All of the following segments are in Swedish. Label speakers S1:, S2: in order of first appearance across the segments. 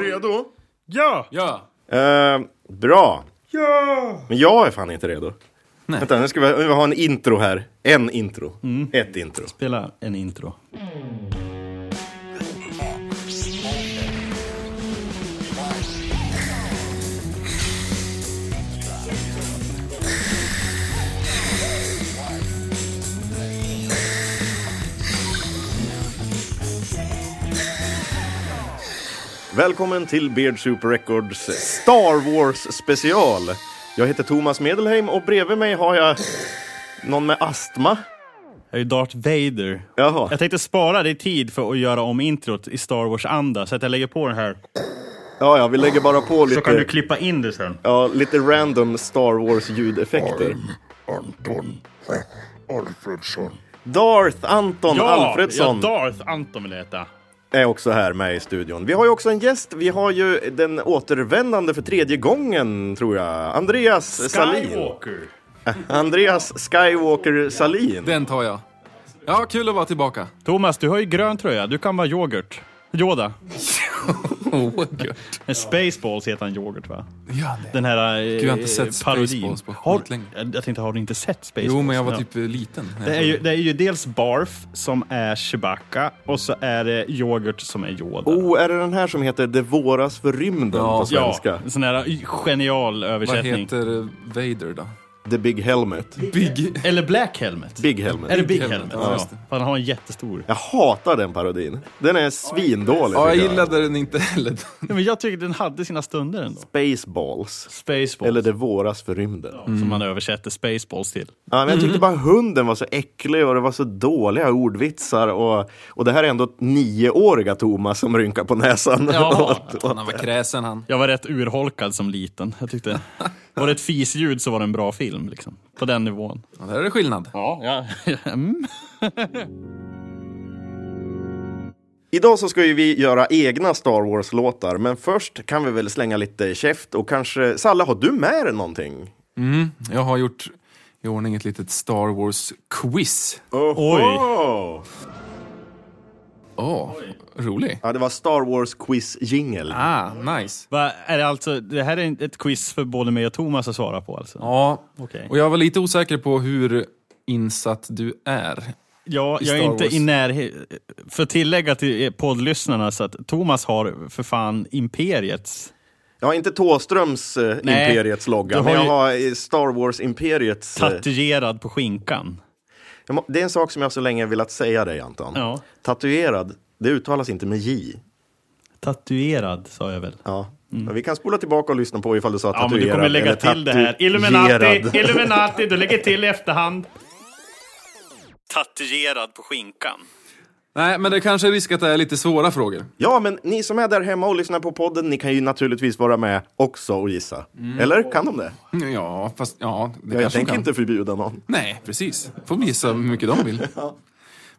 S1: Redo?
S2: Ja!
S3: Ja!
S1: Eh, bra.
S2: Ja!
S1: Men jag är fan inte redo.
S3: Nej.
S1: Vänta, nu ska vi, vi ha en intro här. En intro. Ett intro.
S2: Spela en intro.
S1: Välkommen till Beard Super Records Star Wars special. Jag heter Thomas Medelheim och bredvid mig har jag någon med astma.
S2: Jag är ju Darth Vader.
S1: Jaha.
S2: Jag tänkte spara det i tid för att göra om introt i Star Wars-anda, så att jag lägger på den här.
S1: Ja, ja, vi lägger bara på
S2: Så kan du
S1: lite,
S2: klippa in det sen.
S1: ja, lite random Star Wars ljudeffekter.
S4: Anton Alfredsson.
S1: Darth Anton Alfredsson
S2: ja, Darth Anton vill jag heta.
S1: är också här med i studion. Vi har ju också en gäst. Vi har ju den återvändande för tredje gången, tror jag. Andreas Salin.
S2: Skywalker.
S1: Andreas Skywalker Salin.
S3: Den tar jag. Ja, kul att vara tillbaka.
S2: Thomas, du har ju grön tröja. Du kan vara yoghurt. Yoda.
S3: Oh, gött.
S2: Men Spaceballs heter han yoghurt, va?
S3: Ja, nej.
S2: Den här eh,
S3: jag har inte sett
S2: parodin.
S3: Spaceballs på
S2: har,
S3: skitlänge.
S2: jag, jag tänkte, har du inte sett Spaceballs?
S3: Jo, men jag var
S2: Ja.
S3: typ eh, liten.
S2: Det är, ju, det är ju dels Barf som är Chewbacca och så är det yoghurt som är Yoda.
S1: Oh, är det den här som heter Det våras för rymden
S3: Ja.
S1: på
S2: ja,
S1: svenska?
S2: en sån här genial
S3: Vad
S2: översättning.
S3: heter eh, Vader då?
S1: The Big Helmet.
S3: Big...
S2: Eller Black Helmet.
S1: Big Helmet.
S2: är det Big
S3: Helmet?
S2: Helmet?
S3: Ja,
S2: Ja.
S3: just det.
S2: För han har en jättestor.
S1: Jag hatar den parodin. Den är svindålig.
S3: Ja, jag
S1: tycker
S3: gillade den inte heller.
S2: Ja, men jag tycker den hade sina stunder ändå.
S1: Spaceballs.
S2: Spaceballs,
S1: Eller Det våras för rymden. Ja.
S2: som
S3: Mm.
S2: man översätter Spaceballs till.
S1: men jag
S2: Mm.
S1: tyckte bara hunden var så äcklig och det var så dåliga ordvitsar. Och, och det här är ändå nioåriga Thomas som rynkar på näsan.
S2: Ja.
S1: åt, åt.
S3: Han var kräsen han.
S2: Jag var rätt urholkad som liten. Jag tyckte, var det ett fisljud så var det en bra film. Liksom. På den nivån.
S3: Ja, där är det skillnad.
S2: Ja, ja. Mm.
S1: Idag så ska ju vi göra egna Star Wars-låtar. Men först kan vi väl slänga lite käft och kanske... Salla, har du med dig någonting?
S3: Mm, jag har gjort i ordning ett litet Star Wars-quiz.
S1: Oho!
S3: Åh, rolig.
S1: Ja, det var Star Wars quiz jingle.
S3: Ah, nice.
S2: Va, är det, alltså, det här är ett quiz för både mig och Thomas att svara på alltså?
S3: Ja,
S2: Okej.
S3: och jag var lite osäker på hur insatt du är.
S2: Ja,
S3: i
S2: jag är
S3: Star
S2: inte
S3: Wars.
S2: i närhet. För tillägga till eh, poddlyssnarna så att Thomas har för fan Imperiets.
S1: Jag har inte Tåströms eh,
S2: Nej,
S1: Imperiets logga,
S2: du har
S1: men jag
S2: ju-
S1: har eh, Star Wars Imperiets... Eh,
S2: Tatuerad på skinkan.
S1: jag må- det är en sak som jag så länge velat säga dig, Anton.
S2: Ja.
S1: Tatuerad, det uttalas inte med J.
S2: Tatuerad sa jag väl.
S1: Ja. Men Vi kan spola tillbaka och lyssna på ifall du sa
S2: Mm. Ja, men
S1: tatuerad
S2: du kommer lägga
S1: eller
S2: till det här. Illuminati,
S1: tatuerad.
S2: Illuminati, du lägger till i efterhand. Tatuerad på skinkan.
S3: Nej, men det kanske är risk att det är lite svåra frågor.
S1: Ja, men ni som är där hemma och lyssnar på podden, ni kan ju naturligtvis vara med också och gissa.
S2: Mm.
S1: Eller? Kan de det?
S3: Ja, fast ja, det
S1: Jag
S3: kanske de
S1: tänker
S3: kan.
S1: inte förbjuda någon.
S3: Nej, precis. Får vi gissa hur mycket de vill. Men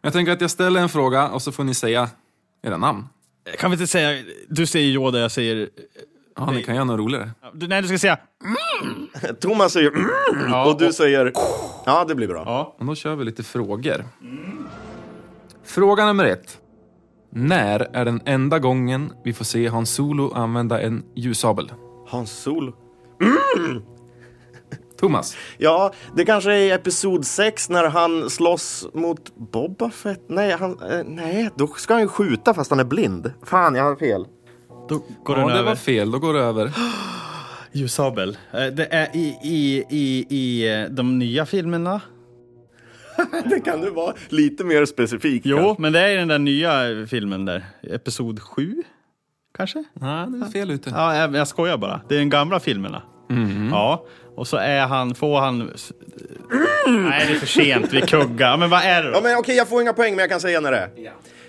S3: jag tänker att jag ställer en fråga och så får ni säga era namn.
S2: Kan vi inte säga, du säger Yoda, jag säger...
S3: Ja, ni kan göra något roligare.
S2: Du, nej, du ska säga...
S1: Thomas säger mm, och du säger ja, det blir bra.
S3: Men då kör vi lite frågor. Fråga nummer ett. När är den enda gången vi får se Han Solo använda en ljussabel?
S1: Hans Sol.
S3: Thomas.
S1: Ja, det kanske är i episod 6 när han slåss mot Boba Fett. Nej, han, eh, nej, då ska han ju skjuta fast han är blind. Fan, jag har fel.
S2: Då går
S3: Ja,
S2: den
S3: det
S2: över.
S3: var fel. Då går det över.
S2: Ljusabel. Eh, Det är i, i, i, i eh, de nya filmerna.
S1: Det kan du vara lite mer specifik.
S2: Jo,
S1: kanske.
S2: men det är i den där nya filmen där. Episod 7, kanske?
S3: Nej, det är fel ute.
S2: Ja, jag, jag skojar bara. Det är den gamla filmerna.
S1: Mhm.
S2: Ja, och så är han, får han... Nej, det är för sent. Vi kuggar. Men vad är det
S1: Ja,
S2: då?
S1: men okej, jag får inga poäng, men jag kan säga när det är.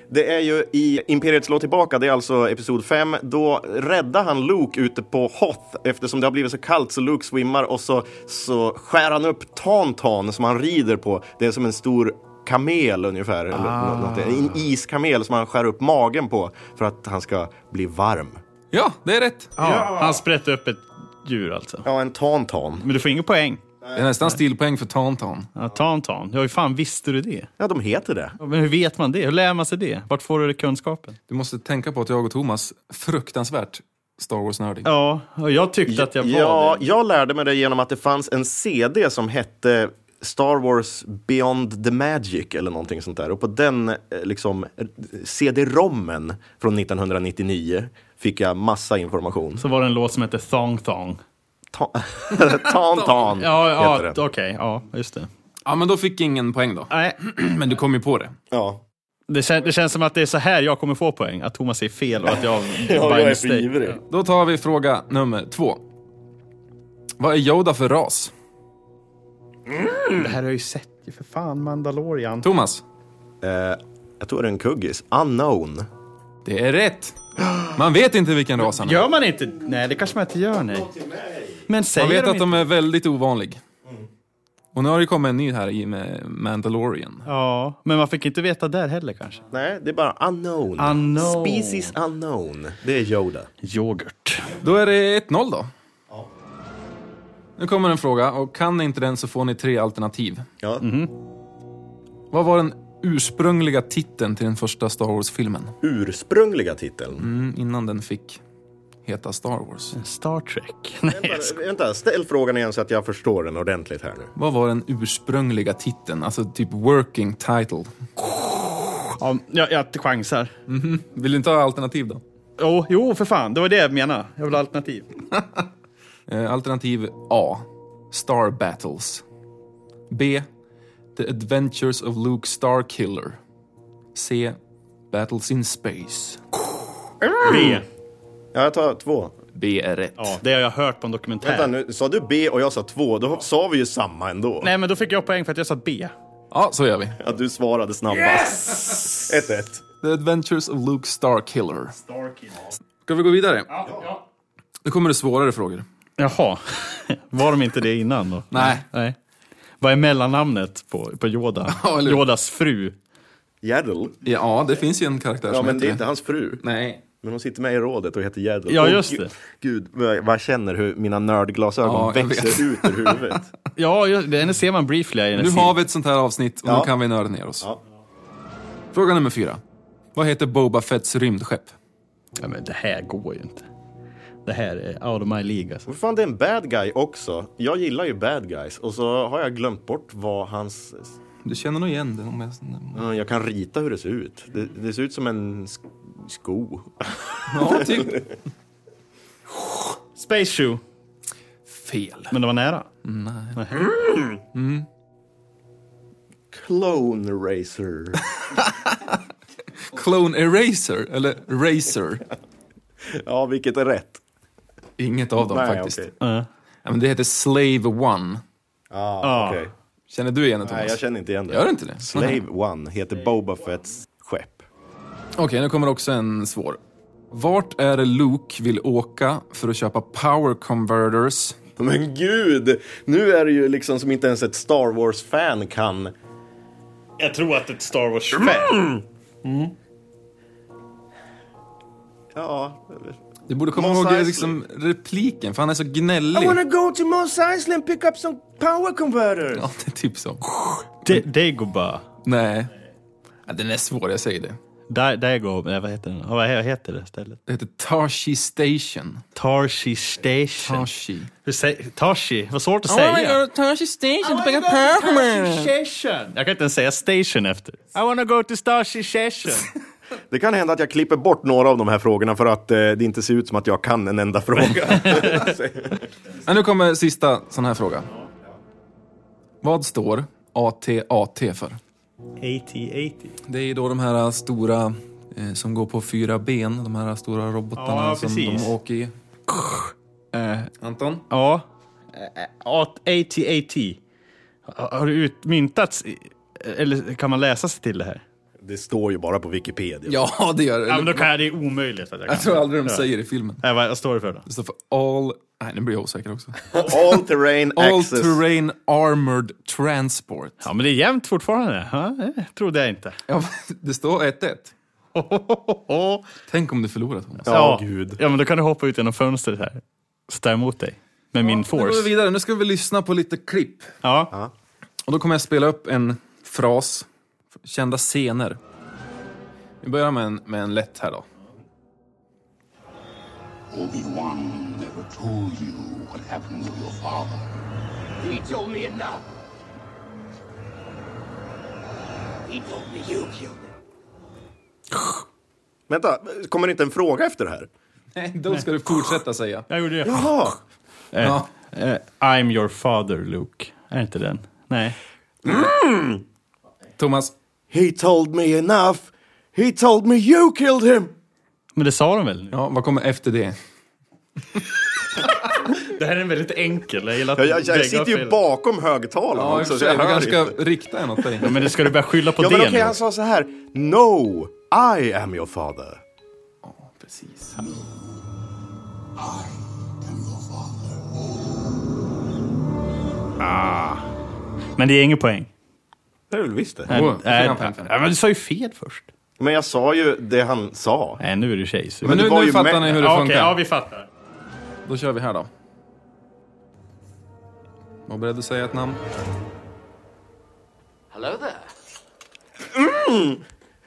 S1: Det är ju i Imperiet slår tillbaka, det är alltså episod 5. Då räddar han Luke ute på Hoth eftersom det har blivit så kallt så Luke svimmar och så, så skär han upp Tantan som han rider på. Det är som en stor kamel ungefär, eller nå- något, en iskamel som han skär upp magen på för att han ska bli varm.
S3: Ja, det är rätt.
S2: Ja, han sprätter upp ett djur alltså.
S1: Ja, en Tantan.
S2: Men du får ingen poäng.
S3: Det är nästan stilpoäng för Tauntaun.
S2: Ja, Tantan. Ja, hur fan visste du det?
S1: Ja, de heter det.
S2: Ja, Men hur vet man det? Hur lär man sig det? Vart får du det kunskapen?
S3: Du måste tänka på att jag och Thomas, fruktansvärt Star Wars-nördig.
S2: Ja, och jag tyckte att jag var
S1: Ja,
S2: det.
S1: jag lärde mig det genom att det fanns en CD som hette Star Wars Beyond the Magic eller någonting sånt där. Och på den eh, liksom, eh, CD-rommen från 1999 fick jag massa information.
S2: Så var det en låt som hette Thong Thong.
S1: Ta- Tauntaun
S2: Ja, ja
S1: heter
S2: okej.
S1: den.
S2: ja, just det.
S3: Ja, men då fick ingen poäng då.
S2: Nej,
S3: Men du kom ju på det.
S1: Ja.
S2: det, kän, det känns som att det är så här jag kommer få poäng. Att Thomas säger fel och att jag... by
S1: Ja, jag är för
S2: mistake.
S1: ivrig.
S3: Då tar vi fråga nummer två. Vad är Yoda för ras?
S2: Det här har jag ju sett ju för fan, Mandalorian.
S3: Thomas?
S1: Eh, jag tror det är en kuggis. Unknown.
S3: Det är rätt! Man vet inte vilken ras han är.
S2: Gör man inte? Nej, det kanske man inte gör, nej. Men säger
S3: Man vet
S2: de
S3: att
S2: inte?
S3: de är väldigt ovanlig. Och nu har det kommit en ny här i med Mandalorian.
S2: Ja, men man fick inte veta där heller kanske.
S1: Nej, det är bara unknown.
S2: Unknown.
S1: Species unknown. Det är Yoda.
S2: Yoghurt.
S3: Då är det 1-0 då. Nu kommer en fråga och kan ni inte den så får ni tre alternativ.
S1: Ja. Mm-hmm.
S3: Vad var den ursprungliga titeln till den första Star Wars-filmen?
S1: Ursprungliga titeln.
S3: Mm, innan den fick heta Star Wars.
S2: Star Trek. Nej, jag skojar.
S1: Vänta, vänta, ställ frågan igen så att jag förstår den ordentligt här nu.
S3: Vad var den ursprungliga titeln? Alltså typ working title.
S2: ja, jag, jag chansar.
S3: Vill du inte ha alternativ då?
S2: Jo, jo, för fan. Det var det jag menade. Jag vill ha alternativ.
S3: Eh, Alternativ A. Star Battles. B. The Adventures of Luke Starkiller. C. Battles in Space.
S2: B.
S1: Ja, jag tar två.
S3: B är rätt.
S2: Ja, det har jag hört på en dokumentär.
S1: Vänta nu, sa du B och jag sa två, då sa vi ju samma ändå.
S2: Nej, men då fick jag poäng för att jag sa B.
S3: Ja, så gör vi.
S1: Att du svarade snabbast. 1-1. Ett, ett.
S3: The Adventures of Luke Starkiller. Starkiller. Ska vi gå vidare? Ja. Nu kommer det svårare frågor.
S2: Jaha. Var de inte det innan då?
S3: Nej.
S2: Nej. Vad är mellannamnet på, på Yoda?
S3: Ja, eller hur?
S2: Yodas fru.
S1: Yaddle?
S3: Ja, det finns ju en karaktär
S1: Ja,
S3: som
S1: men
S3: heter
S1: det är inte hans fru.
S3: Nej.
S1: Men hon sitter med i rådet och heter Yaddle.
S2: Ja,
S1: Åh,
S2: just
S1: gu-
S2: det.
S1: Gud, vad jag- vad jag känner hur mina
S3: Ja,
S1: nördglasögon
S3: jag vet.
S1: växer ut ur huvudet.
S2: Ja, just, det henne ser man briefly. i hennes
S3: Nu
S2: sida.
S3: har vi ett sånt här avsnitt och nu
S1: Ja.
S3: kan vi nörda ner oss.
S1: Ja.
S3: Fråga nummer fyra. Vad heter Boba Fetts rymdskepp?
S2: Ja, men det här går ju inte. Det här är out of my league. Alltså.
S1: Vad fan, det är en bad guy också. Jag gillar ju bad guys. Och så har jag glömt bort vad hans...
S3: Du känner nog igen den om jag...
S1: Mm, Jag kan rita hur det ser ut. Det, det ser ut som en sk- sko.
S3: Ja, typ.
S2: Space Shoe.
S3: Fel.
S2: Men det var nära.
S1: Clone racer.
S3: Clone Eraser, eller Racer.
S1: Ja, vilket är rätt.
S3: Inget av dem
S1: Nej,
S3: faktiskt.
S1: okej.
S3: Ja, men det heter Slave One.
S1: Ah, okej.
S3: Känner du igen det Thomas?
S1: Nej, jag känner inte igen det.
S3: Alltså, Gör du inte det?
S1: Slave One heter Boba Fetts skepp.
S3: Okej, nu kommer också en svår. Vart är det Luke vill åka för att köpa power converters?
S1: Men gud! Nu är det ju liksom som inte ens ett Star Wars-fan kan...
S2: Jag tror att ett Star Wars-fan.
S1: Ja...
S3: Du borde komma
S1: Mos
S3: ihåg
S1: Eisley.
S3: liksom, repliken, för han är så gnällig.
S1: go to Mos Eisley and pick up some power converters!
S3: Ja, det är typ så.
S2: Dagobah.
S3: Nej. Ja, den är svår, jag säger det.
S2: Da- Dago... Nej, vad heter den? Ja, Vad he- heter det stället?
S3: Det heter Tashi Station.
S2: Tarshi Station.
S3: Tashi.
S2: Hur säger... Tarshi? Vad svårt att säga.
S3: Tashi Station to pick up
S2: Station. Jag kan inte ens säga station efter. I wanna go to Starshi Station.
S1: Det kan hända att jag klipper bort några av de här frågorna för att eh, det inte ser ut som att jag kan en enda fråga.
S3: Ja, nu kommer sista sån här fråga. Vad står AT-AT för?
S2: AT-80.
S3: Det är ju då de här stora eh, som går på fyra ben, de här stora robotarna
S2: Ja,
S3: som
S2: precis.
S3: de åker i. Eh, Anton?
S2: Ja. AT-80. Har det utmyntats? i- Eller kan man läsa sig till det här?
S1: det står ju bara på Wikipedia.
S3: Ja, det gör det.
S2: Ja, men då kan jag, det är omöjligt att jag kan.
S3: Jag tror aldrig de säger det i filmen.
S2: Nej, vad, vad står det för då?
S3: Det står för all... Nej, nu blir jag osäker också.
S1: All terrain
S3: All
S1: access.
S3: terrain armored transport.
S2: Ja, men det är jämnt fortfarande. Ja, det trodde jag inte.
S3: Ja, det står 1-1. Tänk om du förlorar Thomas.
S1: Ja, gud.
S2: Ja, men då kan du hoppa ut genom fönstret här. Stå emot dig. med min
S3: Nu går vi
S2: force.
S3: vidare. Nu ska vi lyssna på lite klipp.
S2: Ja.
S3: Och då kommer jag spela upp en fras, kända scener. Vi börjar med en, med en lätt här då.
S5: Obi-Wan never told you what happened to your father. He told me enough. He told me you killed him.
S1: Vänta, kommer det inte en fråga efter det här?
S3: Nej, då ska du fortsätta säga.
S2: Jag gjorde det.
S1: Jaha!
S2: Eh, eh, I'm your father, Luke. Är inte den? Nej.
S3: Thomas,
S1: He told me enough. He told me you killed him.
S2: Men det sa de väl? nu?
S3: ja, vad kommer efter det?
S2: Det här är en väldigt enkel. Jag, gillar att
S1: Jag, jag,
S2: bägge har
S1: jag sitter ju
S2: fel.
S1: bakom högtalaren
S3: Ja, i och
S1: också,
S3: för
S1: så
S3: sig.
S1: jag
S3: Du
S1: hör
S3: kanske ska
S1: inte.
S3: rikta en åt dig.
S2: Men det ska du börja skylla på
S1: Ja,
S2: det
S1: men okej,
S2: nu.
S1: han sa så här. No, I am your father.
S3: Precis.
S2: Men det är ingen poäng.
S1: Det är väl visst det.
S2: Nej,
S3: Åh,
S2: nej,
S3: fyra, fem, fem.
S2: nej, men du sa ju fel först.
S1: Mm. Men jag sa ju det han sa.
S2: Nej, nu är du tjejsur.
S3: Men
S1: det
S3: nu,
S1: var
S3: nu
S1: ju
S3: fattar
S1: med-
S3: ni hur det
S2: Ja,
S3: funkar.
S2: okej, ja, vi fattar.
S3: Då kör vi här då. Var beredd att säga ett namn.
S5: Hello there.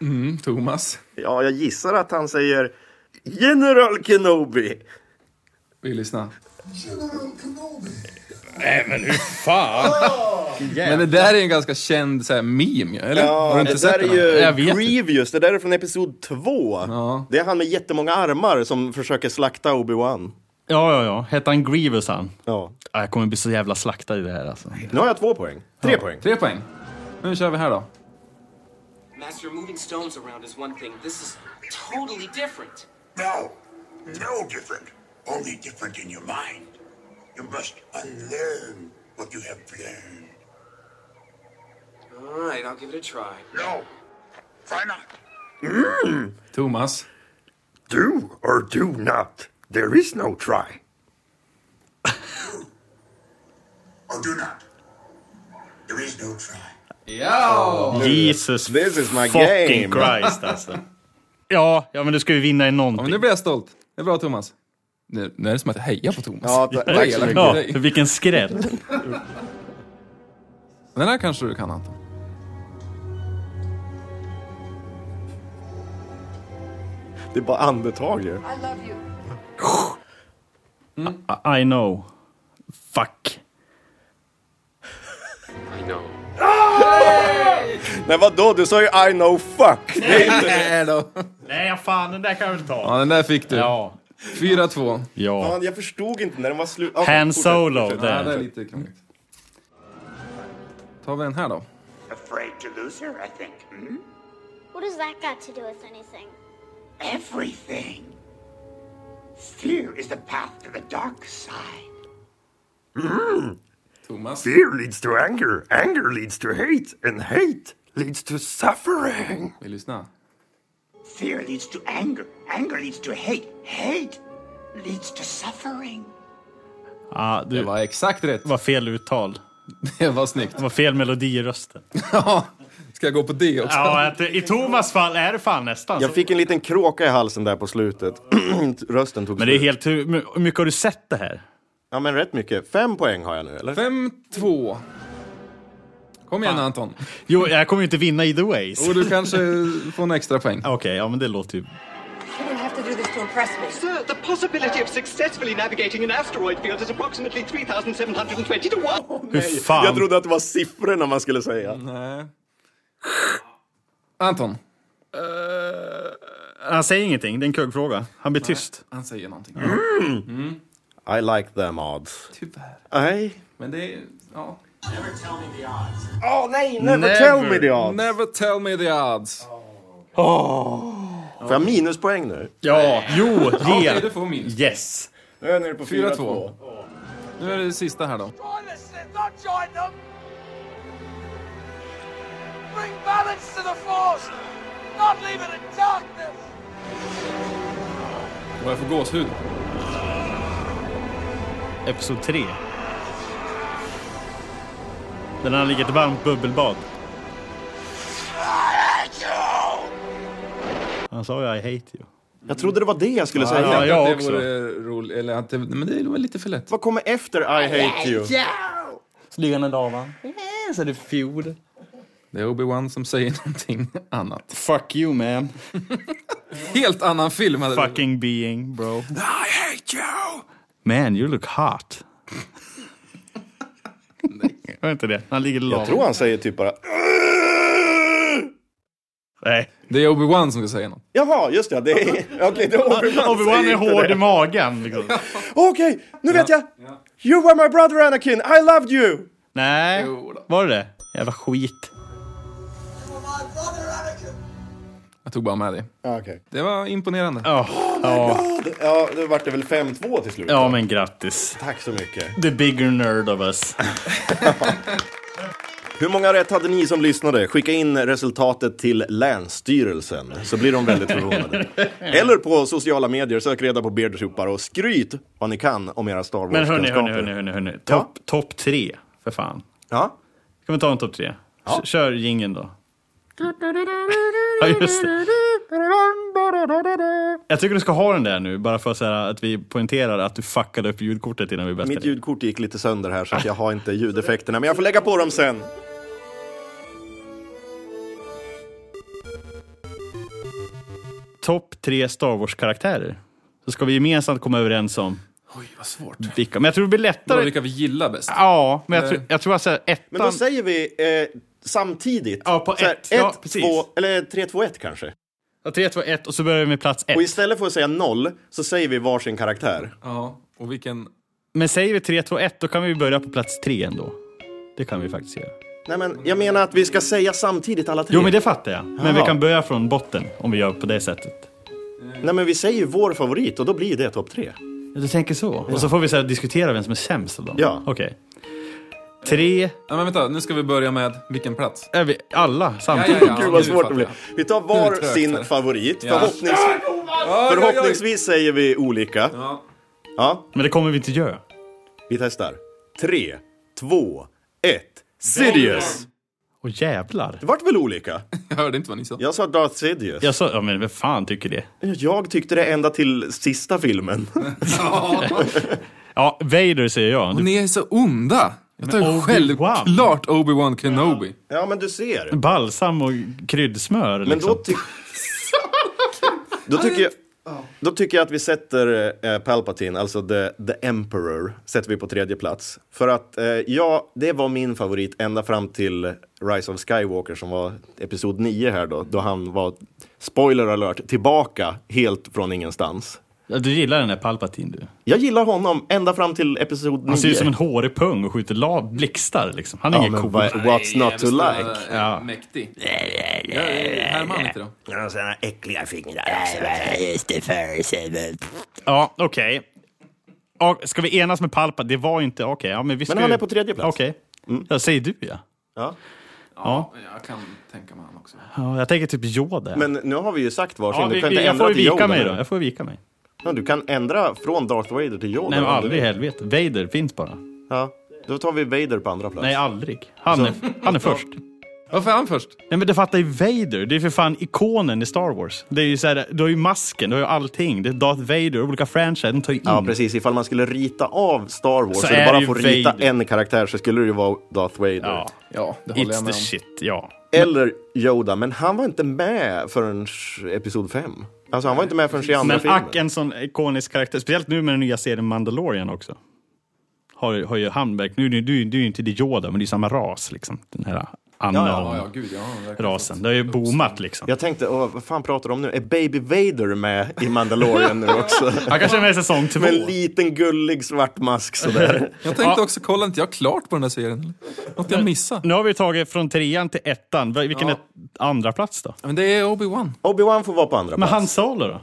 S3: Mm, Thomas.
S1: Ja, jag gissar att han säger General Kenobi.
S3: Vi lyssnar. Men
S2: Men
S3: det där är en ganska känd så här, meme, eller? Har du inte
S1: det
S3: sett
S1: där
S3: den?
S2: Jag
S1: är ju
S2: vet
S1: Grievous, det där är från episod 2. Det är han med jättemånga armar som försöker slakta Obi-Wan.
S2: Ja, ja, ja. Hette han Grievous han?
S1: Ja.
S2: Ja, jag kommer bli så jävla slaktad i det här alltså.
S1: Nu har jag två poäng. Tre poäng.
S3: Tre poäng. Nu kör vi här då.
S6: Master, moving stones around is one thing. This is totally different.
S4: No, no different. Only different in your mind. You must unlearn what you have learned.
S6: All right, I'll give it a try.
S4: No, try not.
S3: Thomas.
S4: Do or do not. There is no try. or do not. There is no try.
S2: Jesus
S1: This is my
S2: fucking
S1: game.
S2: Christ alltså. Ja, ja, men du ska ju vinna i
S3: Ja,
S2: någonting.
S3: men nu blir jag stolt. Det är bra Thomas. Nu, nu är det som att jag hejar på Thomas.
S1: Ja, ta-
S3: Jag är
S1: tack så
S3: elak
S1: mycket.
S3: mot
S2: Ja,
S3: dig.
S2: vilken skräll.
S3: Den här kanske du kan Anton.
S1: Det är bara andetag ju.
S7: I love you.
S2: I know. Fuck.
S6: I know.
S1: Nej vadå, du sa ju I know fuck.
S3: Nej då.
S2: Nej, fan, den där kan jag väl
S3: Ja,
S2: ta.
S3: den där fick du.
S2: Ja.
S3: 4-2.
S2: Ja.
S1: Fan, jag förstod inte när den var slut.
S2: Han Solo.
S3: Ja, det är
S2: Där.
S3: lite krångligt. Tar vi den här då.
S4: Afraid to lose her, I think. Hmm?
S8: What does that got to do with anything?
S4: Everything. Fear is the path to the dark side.
S3: Thomas.
S4: Fear leads to anger, anger leads to hate, and hate leads to suffering.
S3: Vi lyssnar.
S4: Fear leads to anger, anger leads to hate, hate leads to suffering.
S2: Ja,
S3: Det
S2: Ah, du
S3: var exakt rätt.
S2: var fel uttal.
S3: Det var snyggt.
S2: Det var fel melodi i rösten.
S3: Ja. Ska jag gå på det också?
S2: Ja, att, i Thomas fall är det fan nästan så.
S1: Jag fick en liten kråka i halsen där på slutet. Rösten tog
S2: Men det är
S1: slut.
S2: helt... Hur my- hur mycket har du sett det här?
S1: Ja men rätt mycket. Fem poäng har jag nu eller?
S3: 5-2. Kom igen Anton.
S2: Jo, jag kommer ju inte vinna either ways.
S3: Och du kanske får en extra poäng.
S2: Okej, ja men det låter ju...
S7: You don't have to do this to impress me.
S9: Sir, the possibility of successfully navigating an asteroid field is approximately 3,720 to 1.
S2: Hur fan?
S1: Jag trodde att det var siffrorna man skulle säga.
S3: Nej. Anton.
S2: Han säger ingenting, det är en kuggfråga. Han blir tyst.
S3: Han säger någonting.
S1: I like them odds.
S3: Tyvärr.
S1: Nej.
S3: Men det är... Ja.
S1: Åh nej, never,
S2: Never.
S1: tell me the odds.
S3: Never tell me the odds.
S1: Får jag minuspoäng nu?
S2: Ja, jo,
S3: Okej,
S2: ge!
S3: du får minst.
S2: Yes!
S1: Nu är jag nere på
S3: 4-2. Nu är det sista här då. Och jag får gåshud.
S2: Episod 3. Den har ligger i ett varmt bubbelbad. Han sa ju I hate you.
S1: Jag trodde det var det jag skulle säga.
S2: Ja, jag
S3: att det
S2: också.
S3: vore roligt, eller att det, men det är väl lite för lätt.
S1: Vad kommer efter I hate you?
S2: Flygande lava. Yes, är det fjord.
S3: Det är Obi-Wan som säger någonting annat.
S2: Fuck you man.
S3: Helt annan film hade det varit.
S2: Fucking being bro.
S3: I hate you!
S2: Man, you look hot. Nej. Var inte det? Han ligger i
S1: Jag tror
S2: lavan.
S1: han säger typ bara...
S2: Nej.
S3: Det är Obi-Wan som ska säga något.
S1: Jaha, just det. det är... Okej, det är Obi-Wan.
S2: Obi-Wan
S1: säger
S2: är
S1: inte
S2: hård
S1: det.
S2: i magen. Liksom.
S1: Okej, nu vet jag. You were my brother Anakin, I loved you!
S2: Nej,
S3: Jo då.
S2: var det det? Jävla skit.
S3: Jag tog bara med det.
S1: Ja, Okej.
S3: Det var imponerande.
S1: Oh Ja, då vart det väl 5-2 till slut.
S2: Ja, men grattis.
S1: Tack så mycket.
S2: The bigger nerd of us.
S1: Hur många rätt hade ni som lyssnade? Skicka in resultatet till Länsstyrelsen så blir de väldigt förvånade. Eller på sociala medier, sök reda på Beardshoopar och skryt vad ni kan om era Star
S2: Men
S1: Wars-kunskaper.
S2: hörni, hörni, hörni, hörni. hörni. Topp top tre, för fan.
S1: Ja,
S2: Ska vi ta en topp tre? Ja. Kör jingeln då. Ja, just det. Jag tycker du ska ha den där nu, bara för att, säga att vi poängterar att du fuckade upp ljudkortet innan vi
S1: mitt
S2: bäskade.
S1: ljudkort gick lite sönder här så att jag har inte ljudeffekterna, men jag får lägga på dem sen.
S2: Topp tre Star Wars-karaktärer. Så ska vi gemensamt komma överens om
S3: Oj, vad svårt.
S2: vilka. Men jag tror det blir
S3: Bara
S2: lättare.
S3: vilka vi gillar bäst.
S2: Ja, men jag tror, jag tror att säger
S1: Men då
S2: ettan.
S1: säger vi eh, samtidigt.
S2: Ja, på
S1: Så här,
S2: ett. Ja, precis.
S1: två, eller tre, två, ett kanske.
S2: Ja, Tre, två, ett och så börjar vi med plats ett.
S1: Och istället för att säga noll så säger vi varsin karaktär.
S3: Ja, och vilken...
S2: Men säger vi tre, två, ett då kan vi börja på plats tre ändå. Det kan vi faktiskt göra.
S1: Nej, men jag menar att vi ska säga samtidigt alla tre.
S2: Jo, men det fattar jag. Men vi
S1: Jaha.
S2: kan börja från botten om vi gör på det sättet.
S1: Nej, men vi säger ju vår favorit och då blir det topp tre.
S2: Ja, Du tänker så? Och så får vi så här, diskutera vem som är sämst av dem?
S1: Ja.
S2: Okej. Tre...
S3: Nej, men vänta, nu ska vi börja med vilken plats?
S2: Är vi alla samtidigt?
S3: Ja, ja, ja.
S1: Gud vad
S3: nu
S1: svårt det
S3: fattar
S1: blir. Vi tar
S3: Nu är
S1: var
S3: det trögt
S1: sin
S3: här.
S1: favorit.
S3: Ja.
S1: Förhoppnings... Förhoppningsvis säger vi olika.
S3: Ja.
S1: Ja,
S2: Men det kommer vi inte göra.
S1: vi testar. Tre, två, ett. Sirius!
S2: Åh jävlar.
S1: Det vart väl olika?
S3: Jag hörde inte vad ni sa.
S1: Jag sa Darth Sidious.
S2: Jag sa, ja men vem fan tycker det?
S1: Jag tyckte det ända till sista filmen.
S2: Ja, Vader säger jag.
S3: Och
S2: Du,
S3: ni är så onda! Jag tar
S2: Obi-Wan.
S3: ju självklart Obi-Wan Kenobi.
S1: Ja, men du ser.
S2: balsam och kryddsmör liksom.
S1: Men då, ty... då tycker jag... Då tycker jag att vi sätter eh, Palpatine, alltså the, the Emperor, sätter vi på tredje plats. För att, eh, ja, det var min favorit ända fram till Rise of Skywalker som var episod 9 här då, då han var, spoiler alert, tillbaka helt från ingenstans.
S2: Ja, Du gillar den där Palpatine du.
S1: Jag gillar honom ända fram till episod 9.
S2: Han ser ut som en hårig pung och skjuter lav blixtar liksom. Han är
S1: ja,
S2: ingen
S1: men
S2: cool.
S1: vad- What's not to like?
S3: Ja. Äh, Mäktig. Jag är härmar inte då.
S2: Ja, okej. Ja, Ska vi enas med Palpa? Det var inte... Okej, ja, men vi ska
S1: Men han
S2: ju-
S1: är på tredje plats. Mm.
S2: Okej. Ja, säger du ja.
S1: Ja.
S2: Ja.
S3: Jag kan tänka mig han också.
S2: ja. Jag tänker typ Yoda.
S1: Men nu har vi ju sagt varsin,
S2: ja,
S1: du
S2: vi,
S1: kan inte
S2: vi, jag
S1: ändra
S2: får ju
S1: till
S2: vika
S1: Yoda
S2: mig
S1: nu.
S2: då. Jag får vika mig.
S1: Ja, du kan ändra från Darth Vader till Yoda.
S2: Nej, men
S1: om du
S2: aldrig i
S1: vill.
S2: helvete. Vader finns bara.
S1: Ja, då tar vi Vader på andra plats.
S2: Nej, aldrig. Han är, han är först.
S3: Varför är han först?
S2: Nej, men det fattar ju Vader. Det är för fan ikonen i Star Wars. Det är ju så här, du har ju masken, du har ju allting. Det är Darth Vader, olika franchise, de tar ju in.
S1: Ja, precis. Ifall man skulle rita av Star Wars,
S2: Så
S1: så, det
S2: är
S1: bara
S2: det ju
S1: får rita
S2: Vader.
S1: en karaktär, så skulle det ju vara Darth Vader.
S2: Ja,
S3: Ja, det håller jag
S2: It's the
S3: med om.
S2: shit, ja.
S1: Eller Yoda, men han var inte med förrän episod 5. Alltså, han var inte med förrän i andra
S2: Men
S1: filmen.
S2: ack, en sån ikonisk karaktär. Speciellt nu med den nya serien Mandalorian också. Har, har ju han verkligen- nu, nu, nu är ju inte det Yoda, men det är ju samma ras liksom. Den här
S1: ja,
S3: Ja, ja,
S2: Anna
S3: gud, ja, verkligen.
S2: rasen Det har ju boomat liksom.
S1: Jag tänkte, åh, vad fan pratar de om nu? Är Baby Vader med i Mandalorian nu också?
S2: Han kanske är med i säsong två.
S1: med en liten gullig svart mask sådär.
S3: Jag tänkte också, kolla inte jag klart på den här serien? eller? Något jag missade?
S2: Nu har vi tagit från trean till ettan. Va- Vilken är andra plats då?
S3: Men det är Obi-Wan.
S1: Obi-Wan får vara på andra
S2: Men
S1: plats.
S2: Han Solo då?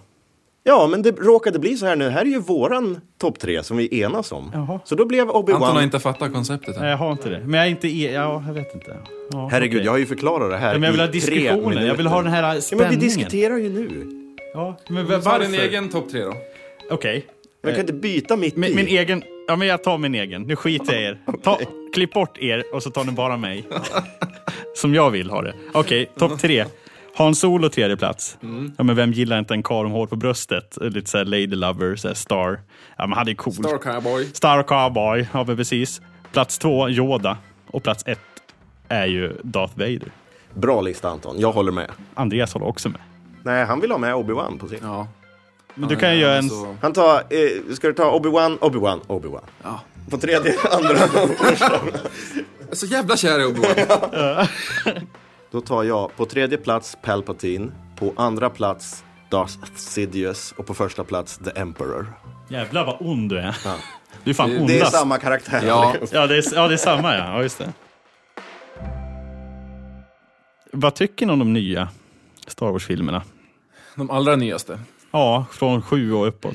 S1: Ja, men det råkade bli så här nu. Här är ju våran topp tre som vi enas om.
S2: Jaha.
S1: Så då blev
S3: Anton har
S1: Obi-Wan...
S3: inte fattat konceptet
S2: Nej,
S3: än.
S2: jag har inte det. Men jag är inte... E ja, jag vet inte. Ja,
S1: Herregud,
S2: okej.
S1: jag har ju förklarat det här
S2: Men jag vill ha
S1: i tre
S2: diskussionen. Jag vill ha
S1: minuter.
S2: den här
S1: Ja,
S2: spänningen.
S1: men vi diskuterar ju nu.
S2: Ja, men va-
S3: Ta
S2: varför?
S3: din egen topp tre då.
S2: Okej.
S1: Man kan inte byta mitt
S2: Eh, Min, e-
S1: i.
S2: min egen... Ja, men jag tar min egen. Nu skiter jag i er. Ta, Klipp bort er och så tar ni bara mig. Som jag vill ha det. Okej, topp tre. Hans Solo tredje plats.
S10: Mm.
S2: Ja, men vem gillar inte en karl med hår på bröstet? Lite såhär lady lover, såhär star. Ja, men han är cool.
S10: Star Cowboy.
S2: Star Cowboy, ja men precis. Plats två, Yoda. Och plats ett är ju Darth Vader.
S1: Bra lista Anton, jag håller med.
S2: Andreas håller också med.
S1: Nej, han vill ha med Obi-Wan på sin.
S10: Ja.
S2: Men du kan ju göra en...
S10: Så,
S1: Han tar, eh, ska du ta Obi-Wan, Obi-Wan, Obi-Wan?
S10: Ja.
S1: På tredje, andra.
S10: jag är så jävla kär i Obi-Wan.
S1: Då tar jag på tredje plats Palpatine, på andra plats Darth Sidious och på första plats The Emperor.
S2: Jävlar vad ond du är. Du är fan
S10: Det- det är
S2: ondast.
S1: Det är samma karaktär.
S10: Ja.
S2: Ja, det är, ja, det är samma ja. ja just det. Vad tycker ni om de nya Star Wars-filmerna?
S3: De allra nyaste.
S2: Ja, från sju och uppåt.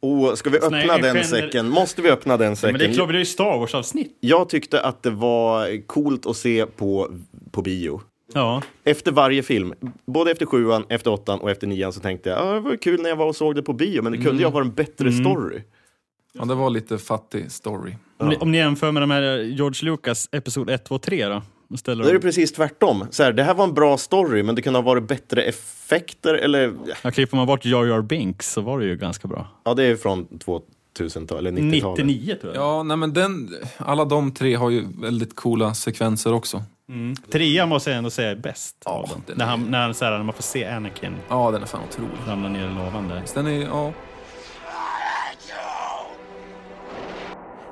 S1: Och Oh, ska vi öppna
S2: Nej,
S1: den
S2: gener-
S1: säcken? Måste vi öppna den säcken?
S2: Men det är klart, det är ju Star Wars-avsnitt.
S1: Jag tyckte att det var coolt att se på, på bio.
S2: Ja.
S1: Efter varje film, både efter sjuan, efter åttan och efter nian så tänkte jag ah, det var kul när jag var och såg det på bio, men det
S2: Mm.
S1: kunde ju ha varit en bättre story.
S3: Ja, det var lite fattig story.
S2: Om, ni, om ni jämför med de här eh, George Lucas Episod 1, 2, 3 då? Och ställer
S1: Då är det
S2: dem.
S1: precis tvärtom. Så här, det här var en bra story, men det kunde ha varit bättre effekter eller...
S2: Ja, klipper man bort Jar Jar Binks så var det ju ganska bra.
S1: Ja, det är från 2000-talet, eller 90-talet.
S2: 99 tror jag.
S3: Ja, nej men den, alla de tre har ju väldigt coola sekvenser också.
S2: Trean måste jag ändå säga är bäst. av dem.
S3: den är-
S2: När, han, när, han, så här, när man får se Anakin
S3: Ja, den är fan otrolig.
S2: ramla ner i lådan där.
S3: Den är, ja.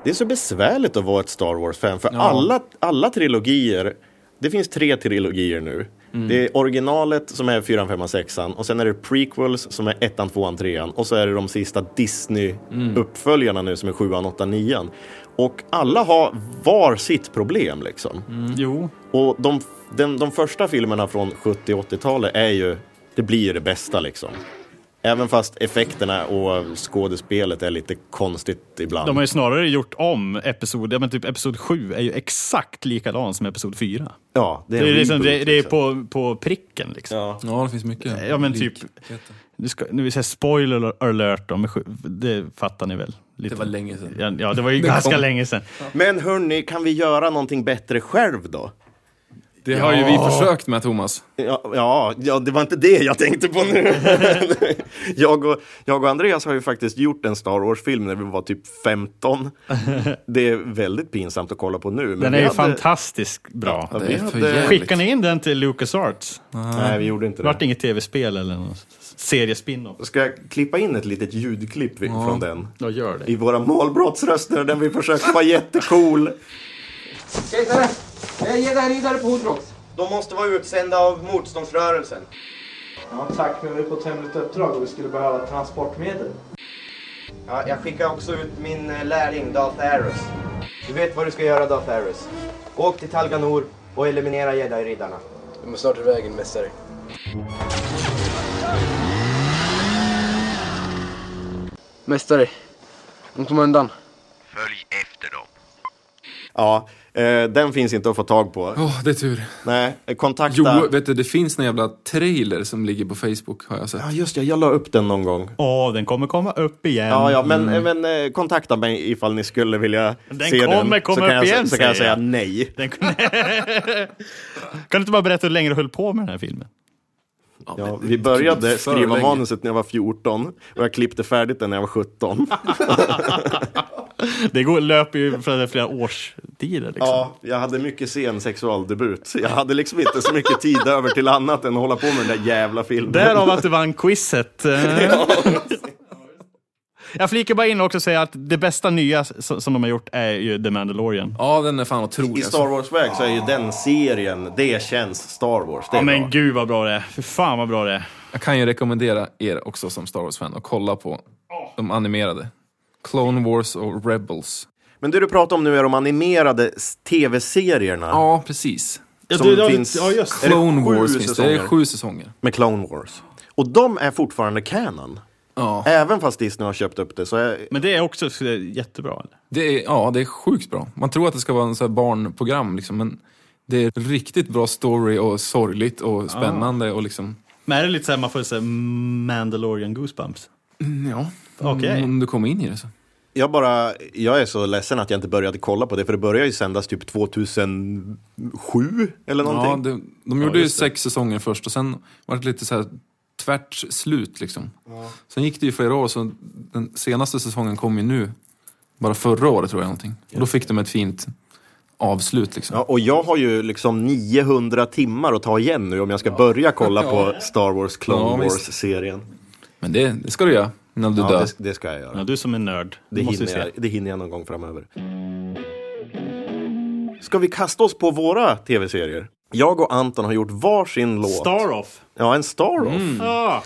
S1: Det är så besvärligt att vara ett Star Wars-fan, för alla, alla trilogier, det finns tre trilogier nu. Det är originalet som är 4, 5, 6 och sen är det prequels som är 1, 2, 3 och så är det de sista Disney-uppföljarna nu som är 7, 8, 9. Och alla har var sitt problem liksom.
S2: Jo,
S1: Och de, den, de första filmerna från 70 och 80-talet är ju, det blir ju det bästa liksom. Även fast effekterna och skådespelet är lite konstigt ibland.
S2: de har ju snarare gjort om episod, ja, men typ episod 7 är ju exakt likadan som episod 4.
S1: Ja, det är,
S2: Det är,
S1: en
S2: liksom,
S1: reboot,
S2: det, det är
S1: liksom.
S2: på, på pricken liksom.
S1: Ja.
S3: ja, det finns mycket.
S2: Ja, men typ-
S3: likheter.
S2: Nu, ska, nu vill jag säga spoiler alert om sju, det fattar ni väl? Lite.
S3: Det var länge sedan.
S2: Ja, ja, det var ju ganska
S3: kom.
S2: länge sedan.
S1: Men hörni, kan vi göra någonting bättre själv då?
S3: Det har ju vi försökt med, Thomas.
S1: Ja, ja, ja, det var inte det jag tänkte på nu. jag, och, jag och Andreas har ju faktiskt gjort en Star Wars-film när vi var typ 15. Det är väldigt pinsamt att kolla på nu. Men
S2: Den
S1: vi
S2: är ju
S1: hade-
S2: fantastiskt bra.
S1: Ja,
S3: Det
S1: vi
S3: är för
S1: hade-
S3: jävligt.
S2: Skickar ni in den till LucasArts?
S1: Nej, vi gjorde inte
S2: Det vart
S1: det.
S2: inget tv-spel eller någon seriespin-off?
S1: Ska jag klippa in ett litet ljudklipp vi- från den?
S2: Ja, gör det.
S1: I våra målbrottsröster där vi försöker vara jättecool.
S6: Kejsare! Ge det här vidare på Hodrox.
S11: De måste vara utsända av motståndsrörelsen. Ja, tack, men vi är på ett hemligt uppdrag och vi skulle behöva transportmedel. Ja, jag skickar också ut min eh, lärling Darth Arus. Du vet vad du ska göra Darth Arus. Åk till Talganor och eliminera jedi-riddarna. De är snart iväg, mästare.
S6: Mästare, de kommer undan.
S5: Följ efter dem.
S1: Ja, eh, den finns inte att få tag på.
S3: Åh, det är tur.
S1: Nej, eh, kontakta...
S3: Jo, vet du, det finns en jävla trailer som ligger på Facebook, har jag sett.
S1: Ja, just det. Jag la upp den någon gång.
S2: Åh, den kommer komma upp igen.
S1: Ja, ja, men, men eh, kontakta mig ifall ni skulle vilja
S2: Mm. Den
S1: se
S2: kommer
S1: den.
S2: komma
S1: så kan
S2: upp
S1: jag,
S2: igen,
S1: Så kan jag
S2: säger
S1: säga
S2: jag.
S1: nej.
S2: Den kom... kan du inte bara berätta hur länge du höll på med den här filmen?
S1: Ja,
S2: Typ
S1: vi började
S3: gud, för
S1: skriva
S3: länge.
S1: manuset när jag var 14 och jag klippte färdigt den när jag var 17.
S2: Det går, löper ju för flera årstider. Liksom.
S1: Ja, jag hade mycket sen sexualdebut. Jag hade liksom inte så mycket tid över till annat än att hålla på med den där jävla filmen.
S2: Därav att du vann quizet. Eh. Jag flikar bara in och också säga att det bästa nya s- som de har gjort är ju The Mandalorian.
S3: Ja, den är fan otrolig. alltså.
S1: I Star Wars-väg så är ju den serien, det känns Star Wars. Det är
S2: Ja, men
S1: bra.
S2: gud vad bra det är. Fy fan vad bra det är.
S3: Jag kan ju rekommendera er också som Star Wars-fan att kolla på de animerade. Clone Wars och Rebels.
S1: men det du pratar om nu är de animerade s- tv-serierna.
S3: Ja, precis.
S1: Som
S2: du- ja,
S1: finns-
S2: ja, just det.
S1: Är det
S3: Clone
S1: sju
S3: Wars finns det. Det är
S1: säsonger?
S3: sju säsonger.
S1: Med Clone Wars. Och de är fortfarande canon.
S3: Ja,
S1: Även fast Disney har köpt upp det så är...
S2: Men det är också så- jättebra. Eller?
S3: det är, ja, det är sjukt bra. Man tror att det ska vara en så här barnprogram, liksom, men det är riktigt bra story och sorgligt och spännande och liksom...
S2: Men är det lite så här, man får säga Mandalorian goosebumps?
S3: Ja,
S2: Okej.
S3: om du kommer in i det så.
S1: Jag, bara, jag är så ledsen att jag inte började kolla på det, för det började ju sändas typ 2007 eller
S3: Ja,
S1: någonting.
S3: det, de gjorde ju sex säsonger först och sen var det lite så här tvärt slut liksom. Sen gick det ju flera år, så den senaste säsongen kom ju nu. Bara förra året tror jag någonting. Och då fick de ett fint avslut liksom.
S1: Ja, och jag har ju liksom 900 timmar att ta igen nu om jag ska börja kolla på Star Wars Clone
S3: Ja, visst.
S1: Wars-serien.
S3: Men det, det ska du göra innan du
S1: Ja,
S3: dör.
S1: det, det ska jag göra.
S2: Ja, du som är nörd.
S1: Det
S2: måste
S1: hinner, jag,
S2: vi se.
S1: det hinner jag någon gång framöver. Ska vi kasta oss på våra tv-serier? Jag och Anton har gjort varsin låt.
S2: Star-off.
S1: Ja, en Star-off.
S2: Ja.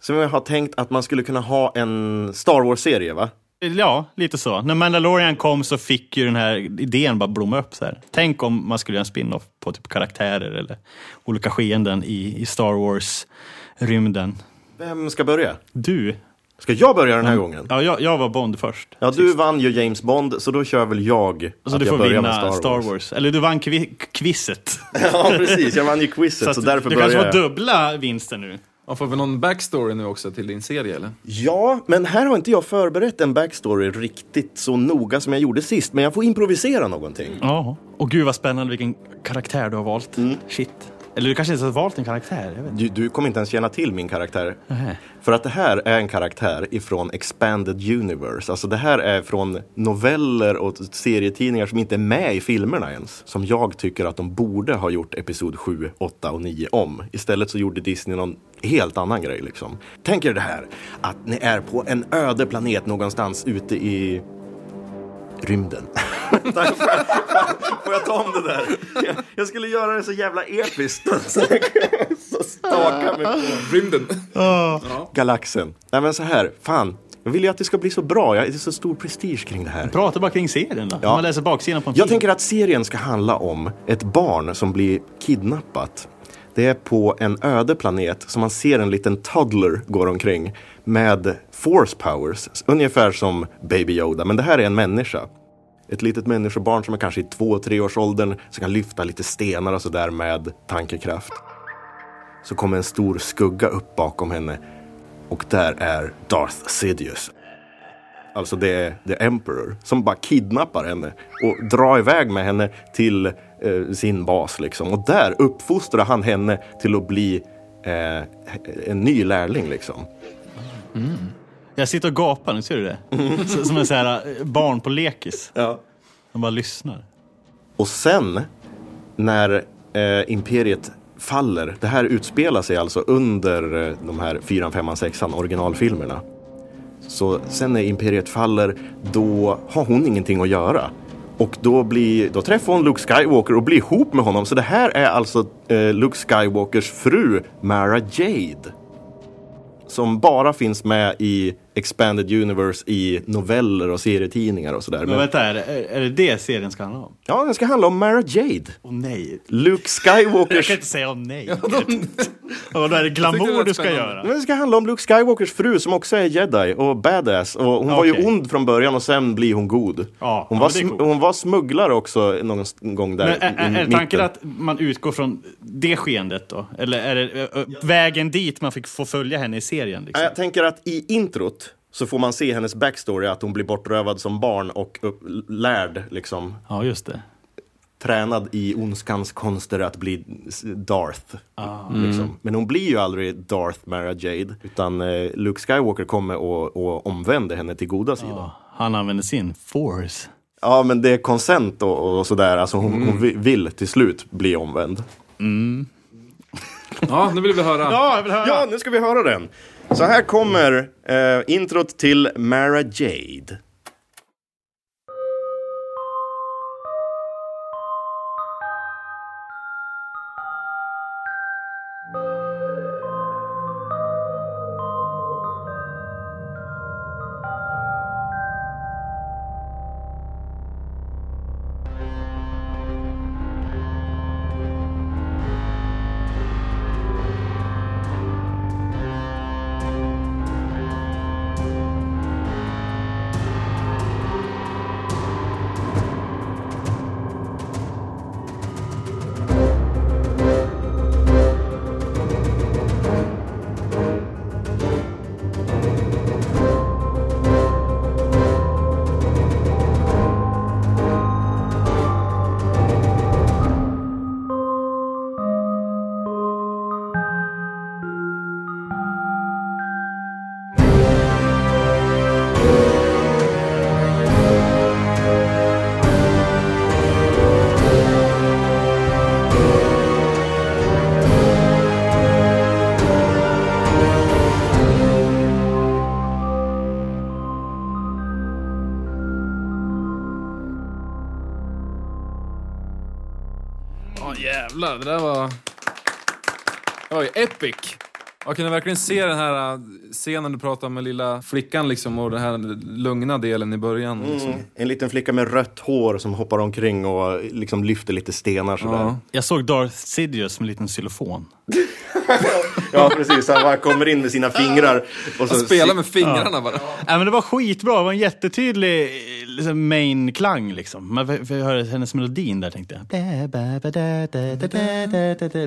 S1: Som jag har tänkt att man skulle kunna ha en Star Wars-serie, va?
S2: ja, lite så. När Mandalorian kom så fick ju den här idén bara blomma upp. Så här. Tänk om man skulle göra en spin-off på typ karaktärer eller olika skeenden i, i Star Wars-rymden.
S1: Vem ska börja?
S2: Du,
S1: Ska jag börja den här gången?
S2: ja, jag, jag var Bond först.
S1: Ja, du vann ju James Bond, så då kör väl jag
S2: Så
S1: att
S2: du
S1: jag
S2: får
S1: börjar
S2: vinna
S1: med
S2: Star Wars. Eller du vann kvi- quizet.
S1: ja, precis. Jag vann ju quizet, så,
S2: att
S1: därför
S2: du
S1: börjar
S2: kanske
S1: jag.
S2: får dubbla vinsten nu.
S3: Ja, får vi någon backstory nu också till din serie eller?
S1: Ja, men här har inte jag förberett en backstory riktigt så noga som jag gjorde sist, men jag får improvisera någonting.
S2: Ja. Och gud vad spännande vilken karaktär du har valt.
S1: Mm.
S2: Shit. Eller du kanske inte ens har valt en karaktär? Jag vet. inte.
S1: Du, du kommer inte ens känna till min karaktär. För att det här är en karaktär ifrån Expanded Universe. Alltså det här är från noveller och serietidningar som inte är med i filmerna ens. Som jag tycker att de borde ha gjort Episod 7, 8 och 9 om. Istället så gjorde Disney någon helt annan grej liksom. Tänk er det här, att ni är på en öde planet någonstans ute i rymden. Får jag ta om det där? Jag, jag skulle göra det så jävla episkt. så staka mig på
S3: Rymden.
S1: galaxen. Nej men så här, fan. Jag vill ju att det ska bli så bra. Jag det är så stor prestige kring det här.
S2: Prata bara kring serien då. Om man läser baksidan på en
S1: Jag
S2: film.
S1: tänker att serien ska handla om ett barn som blir kidnappat. Det är på en öde planet som man ser en liten toddler går omkring med force powers, ungefär som Baby Yoda, men det här är en människa. Ett litet människobarn som är kanske i två, tre års åldern som kan lyfta lite stenar och sådär med tankekraft. Så kommer en stor skugga upp bakom henne och där är Darth Sidious, alltså det är The Emperor, som bara kidnappar henne och drar iväg med henne till eh, sin bas. Liksom. Och där uppfostrar han henne till att bli eh, en ny lärling. Liksom.
S2: Jag sitter och gapar nu, ser du det?
S3: Mm.
S2: Så- Som en sån här eh, barn på lekis. De bara lyssnar.
S1: Och sen när eh, imperiet faller, det här utspelar sig alltså under eh, de här 4, 5, 6 originalfilmerna. Så sen när imperiet faller, då har hon ingenting att göra. Och då, blir, då träffar hon Luke Skywalker och blir ihop med honom. Så det här är alltså eh, Luke Skywalkers fru, Mara Jade. Som bara finns med i Expanded Universe i noveller och serietidningar och sådär.
S2: Men
S1: Men,
S2: vänta, är det, är det det serien ska handla om?
S1: ja, den ska handla om Mara Jade.
S2: Åh nej.
S1: Luke
S2: Jag
S1: Skywalkers...
S2: kan inte säga åh nej. Och då är det
S3: Jag tyckte det
S2: glamour
S3: lät
S2: du ska
S3: spännande.
S2: göra.
S1: Men det ska handla om Luke Skywalkers fru som också är jedi och badass. Och hon var ju
S2: Okej.
S1: ond från början och sen blir hon god.
S2: Ja,
S1: hon, var
S2: ja, men det är
S1: sm-
S2: coolt.
S1: hon var smugglare också någon s- gång där
S2: Men är,
S1: i, i
S2: är, är tanken
S1: mitten.
S2: att man utgår från det skeendet då? Eller är det ö, ö, vägen dit man fick få följa henne i
S1: Nej,
S2: serien? Liksom?
S1: Jag tänker att i introt så får man se hennes backstory att hon blir bortrövad som barn och upp, lärd, liksom
S2: Ja, just det.
S1: tränad i ondskans konster att bli s- Darth.
S2: Ah.
S1: Liksom. Men hon blir ju aldrig Darth Mara Jade, utan eh, Luke Skywalker kommer och, och omvänder henne till goda sidan.
S2: Han använder sin force.
S1: Ja, men det är konsent och, och sådär. Alltså hon, hon vi- vill till slut bli omvänd.
S3: Ja, nu vill vi höra.
S2: Ja, jag vill höra!
S1: Ja, nu ska vi höra den. Så här kommer eh, introt till Mara Jade.
S5: Mara Jade.
S3: jävlar, det där var... Det var ju epic! Jag kunde verkligen se den här äh, scenen du pratade med lilla flickan liksom och den här lugna delen i början. Liksom.
S1: Mm. En liten flicka med rött hår som hoppar omkring och liksom lyfter lite stenar sådär.
S2: Ja. Jag såg Darth Sidious med en liten xylofon.
S1: Ja, precis. Han bara kommer in med sina fingrar. Och så
S3: Han spelar med fingrarna bara.
S2: Ja, men det var skitbra, det var en jättetydlig eh, liksom, main-klang. Liksom. Man f- f- hörde hennes melodin där tänkte jag.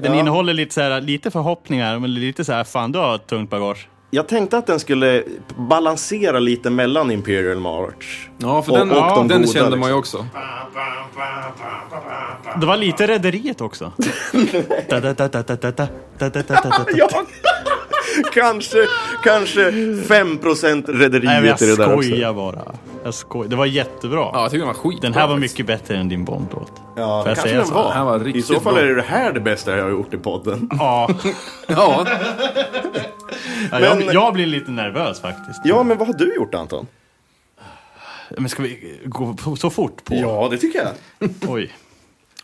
S2: Den
S1: Ja.
S2: innehåller lite, så här, lite förhoppningar, men lite så här, fan du har ett tungt bagage.
S1: Jag tänkte att den skulle balansera lite mellan Imperial March.
S3: Ja, för
S1: Och-
S3: den,
S1: och de
S3: den
S1: goda,
S3: kände man ju
S1: liksom.
S3: också.
S2: Det var lite Rederiet också. Da, da, da, da, da, da, da, da, da, da, da.
S1: liksom. ja. kanske, kanske 5%
S2: Nej,
S1: rederiet
S2: men jag
S1: i det där också.
S2: skojar bara. Jag skojar. Det var jättebra.
S3: Ja, jag tycker den var skit.
S2: Den här var mycket bättre än din Bond-låt.
S1: Ja,
S2: Får jag
S1: kanske
S2: säga
S1: den
S2: så?
S1: var.
S3: Den här var
S1: I
S3: riktigt
S1: så fall
S3: bra.
S1: är det här det bästa jag har gjort i podden.
S2: Ja.
S3: Ja,
S2: Ja, jag,
S1: Men-
S2: jag blir lite nervös faktiskt.
S1: Ja, men vad har du gjort Anton?
S2: Men ska vi gå på, så fort på?
S1: Ja, det tycker jag.
S2: Oj.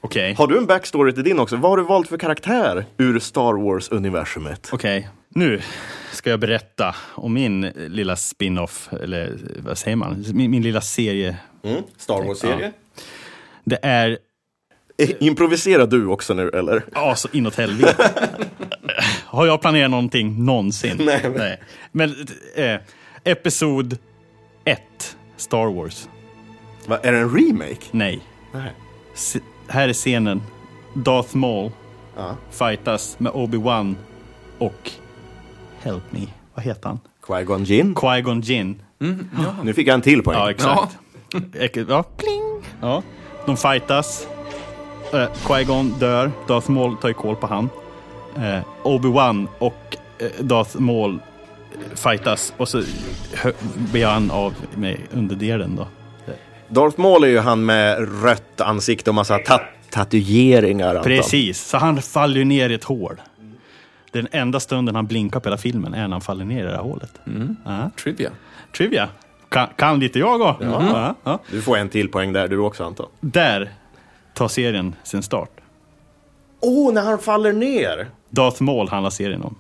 S2: Okej.
S1: Har du en backstory till din också? Vad har du valt för karaktär ur Star Wars-universumet?
S2: Okej. Nu ska jag berätta om min eh, lilla spin-off, eller eh, vad säger man? Min, min lilla serie.
S1: Mm, Star Wars-serie?
S2: Det är
S1: Eh, Improviserar du också nu, eller?
S2: Ja, så inåt helvete. Har jag planerat någonting någonsin?
S1: Nej, men-
S2: Men eh, episod 1, Star Wars.
S1: Va, är det en remake?
S2: Nej.
S1: Nej.
S2: Se- här är scenen. Darth Maul
S1: Ja.
S2: fightas med Obi-Wan och... Help me. Vad heter han?
S1: Qui-Gon Jinn?
S2: Qui-Gon Jinn.
S1: Nu fick jag en till poäng.
S2: Ja, exakt. Ek- Ja. ja. De fightas. Eh, Qui-Gon dör. Darth Maul tar ju koll på han. Eh, Obi-Wan och eh, Darth Maul eh, fightas och så hö- blir han av med underdelen då.
S1: Darth Maul är ju han med rött ansikte och massa ta- tatueringar. Anton.
S2: Precis, så han faller ju ner i ett hål. Den enda stunden han blinkar på hela filmen är när han faller ner i det här hålet. Ja.
S3: trivia.
S2: Trivia. Kan, kan lite jag också. Ja, ja.
S1: Du får en till poäng där du också Anton.
S2: Där tar serien sin start.
S1: Åh, oh, när han faller ner!
S2: Darth Maul handlar serien om.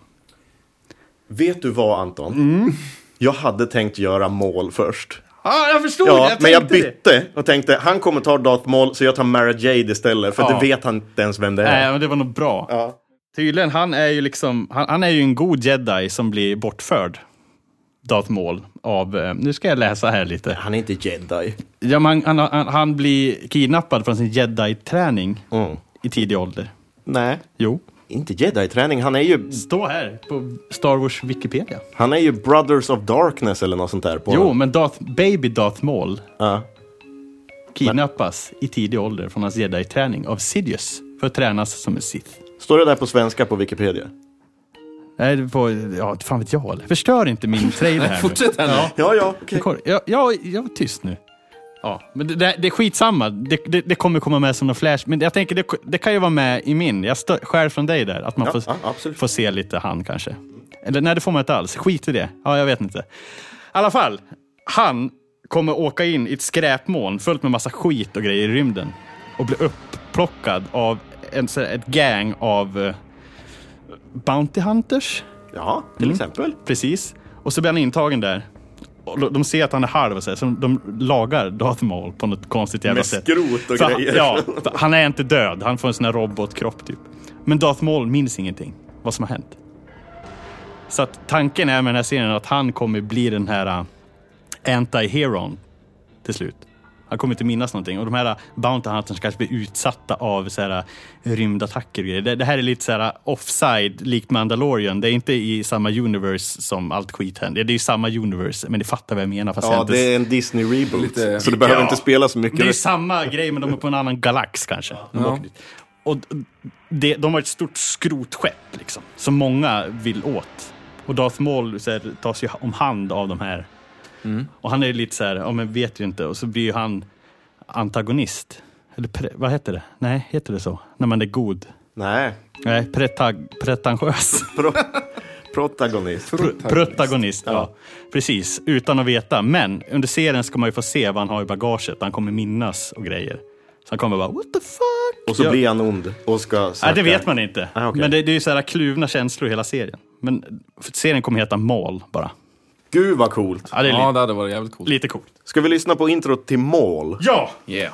S1: Vet du vad Anton? Mm. Jag hade tänkt göra mål först.
S2: Ja, jag förstod
S1: Ja, men jag bytte och tänkte han kommer ta Darth Maul så jag tar Mara Jade istället för
S2: Ja.
S1: det vet han inte ens vem det är.
S2: Nej, men det var nog bra.
S1: Ja.
S2: Tydligen, han är ju liksom, han, han är ju en god jedi som blir bortförd. Darth Maul av, eh, nu ska jag läsa här lite.
S1: Han är inte jedi.
S2: Ja, men han, han, han, han blir kidnappad från sin jedi-träning
S1: Mm.
S2: i tidig ålder.
S1: Nej.
S2: Jo.
S1: Inte jedi-träning, han är ju,
S2: Stå här på Star Wars Wikipedia.
S1: han är ju Brothers of Darkness eller något sånt där. På
S2: Jo, men Darth, baby Darth Maul
S1: Ja.
S2: kidnappas i tidig ålder från hans jedi-träning av Sidious för att tränas som en sith.
S1: Står det där på svenska på Wikipedia?
S2: Nej, det var, ja, fan vet jag eller? Förstör inte min trailer här nu.
S3: Fortsätt här nu.
S1: Ja, ja, okej.
S2: Kor- Jag, jag, jag var tyst nu. Ja, men det, det, det är skitsamma. Det, det, det kommer komma med som någon flash. Men jag tänker, det, det kan ju vara med i min. Jag stö- skär från dig där. Att man
S1: Ja,
S2: får,
S1: ja, absolut.
S2: får se lite han kanske. Eller nej, det får man inte alls. Skit i det. Ja, jag vet inte. I alla fall, han kommer åka in i ett skräpmoln fullt med massa skit och grejer i rymden. Och bli upplockad av en, så här- ett gang av eh, Bounty Hunters.
S1: Ja, till
S2: Mm.
S1: exempel.
S2: Precis. Och så blir han intagen där. Och de- de ser att han är halv och så, här, så de lagar Darth Maul på något konstigt jävla
S1: Med
S2: sätt.
S1: skrot och
S2: För han,
S1: grejer.
S2: Ja, för han är inte död. Han får en sån här robotkropp typ. Men Darth Maul minns ingenting. Vad som har hänt. Så att tanken är med den här serien att han kommer bli den här äh, anti-heron till slut. Han kommer inte minnas någonting. Och de här Bounty Hunters kanske blir utsatta av så här, eh, rymdattacker och grejer. Det, det här är lite så här eh, offside, likt Mandalorian. Det är inte i samma universe som allt skit händer. Det är ju samma universe, men ni fattar vad jag menar. Fast jag
S1: Ja,
S2: inte-
S1: det är en Disney-reboot.
S3: Lite-
S1: Så du behöver
S2: Ja.
S1: inte spela så mycket.
S2: det är ju samma grej, men de är på en annan galax kanske. De,
S3: Ja.
S2: åker dit. Och det, de har ett stort skrotskepp liksom, som många vill åt. Och Darth Maul så här, tas ju om hand av de här.
S1: Mm.
S2: Och han är ju lite så här, ja men vet ju inte. Och så blir ju han antagonist. Eller pre, vad heter det? Nej, heter det så? När man är god?
S1: Nej,
S2: Nej, pretag, pretentiös.
S1: Pro protagonist.
S2: Pr- Protagonist, ja. Precis, utan att veta. Men under serien ska man ju få se vad han har i bagaget. Han kommer minnas och grejer. Så han kommer bara, what the fuck?
S1: Och så
S2: Ja.
S1: blir han ond och ska
S2: Nej,
S1: snacka.
S2: det vet man inte.
S1: Ah, okej.
S2: Men det, det är ju så här kluvna känslor i hela serien. Men för serien kommer heta Mal bara.
S1: Gud vad coolt.
S2: Ja, det, är li-
S3: hade varit jävligt coolt.
S2: lite coolt.
S1: Ska vi lyssna på introt till Mål?
S2: Ja!
S3: Yeah.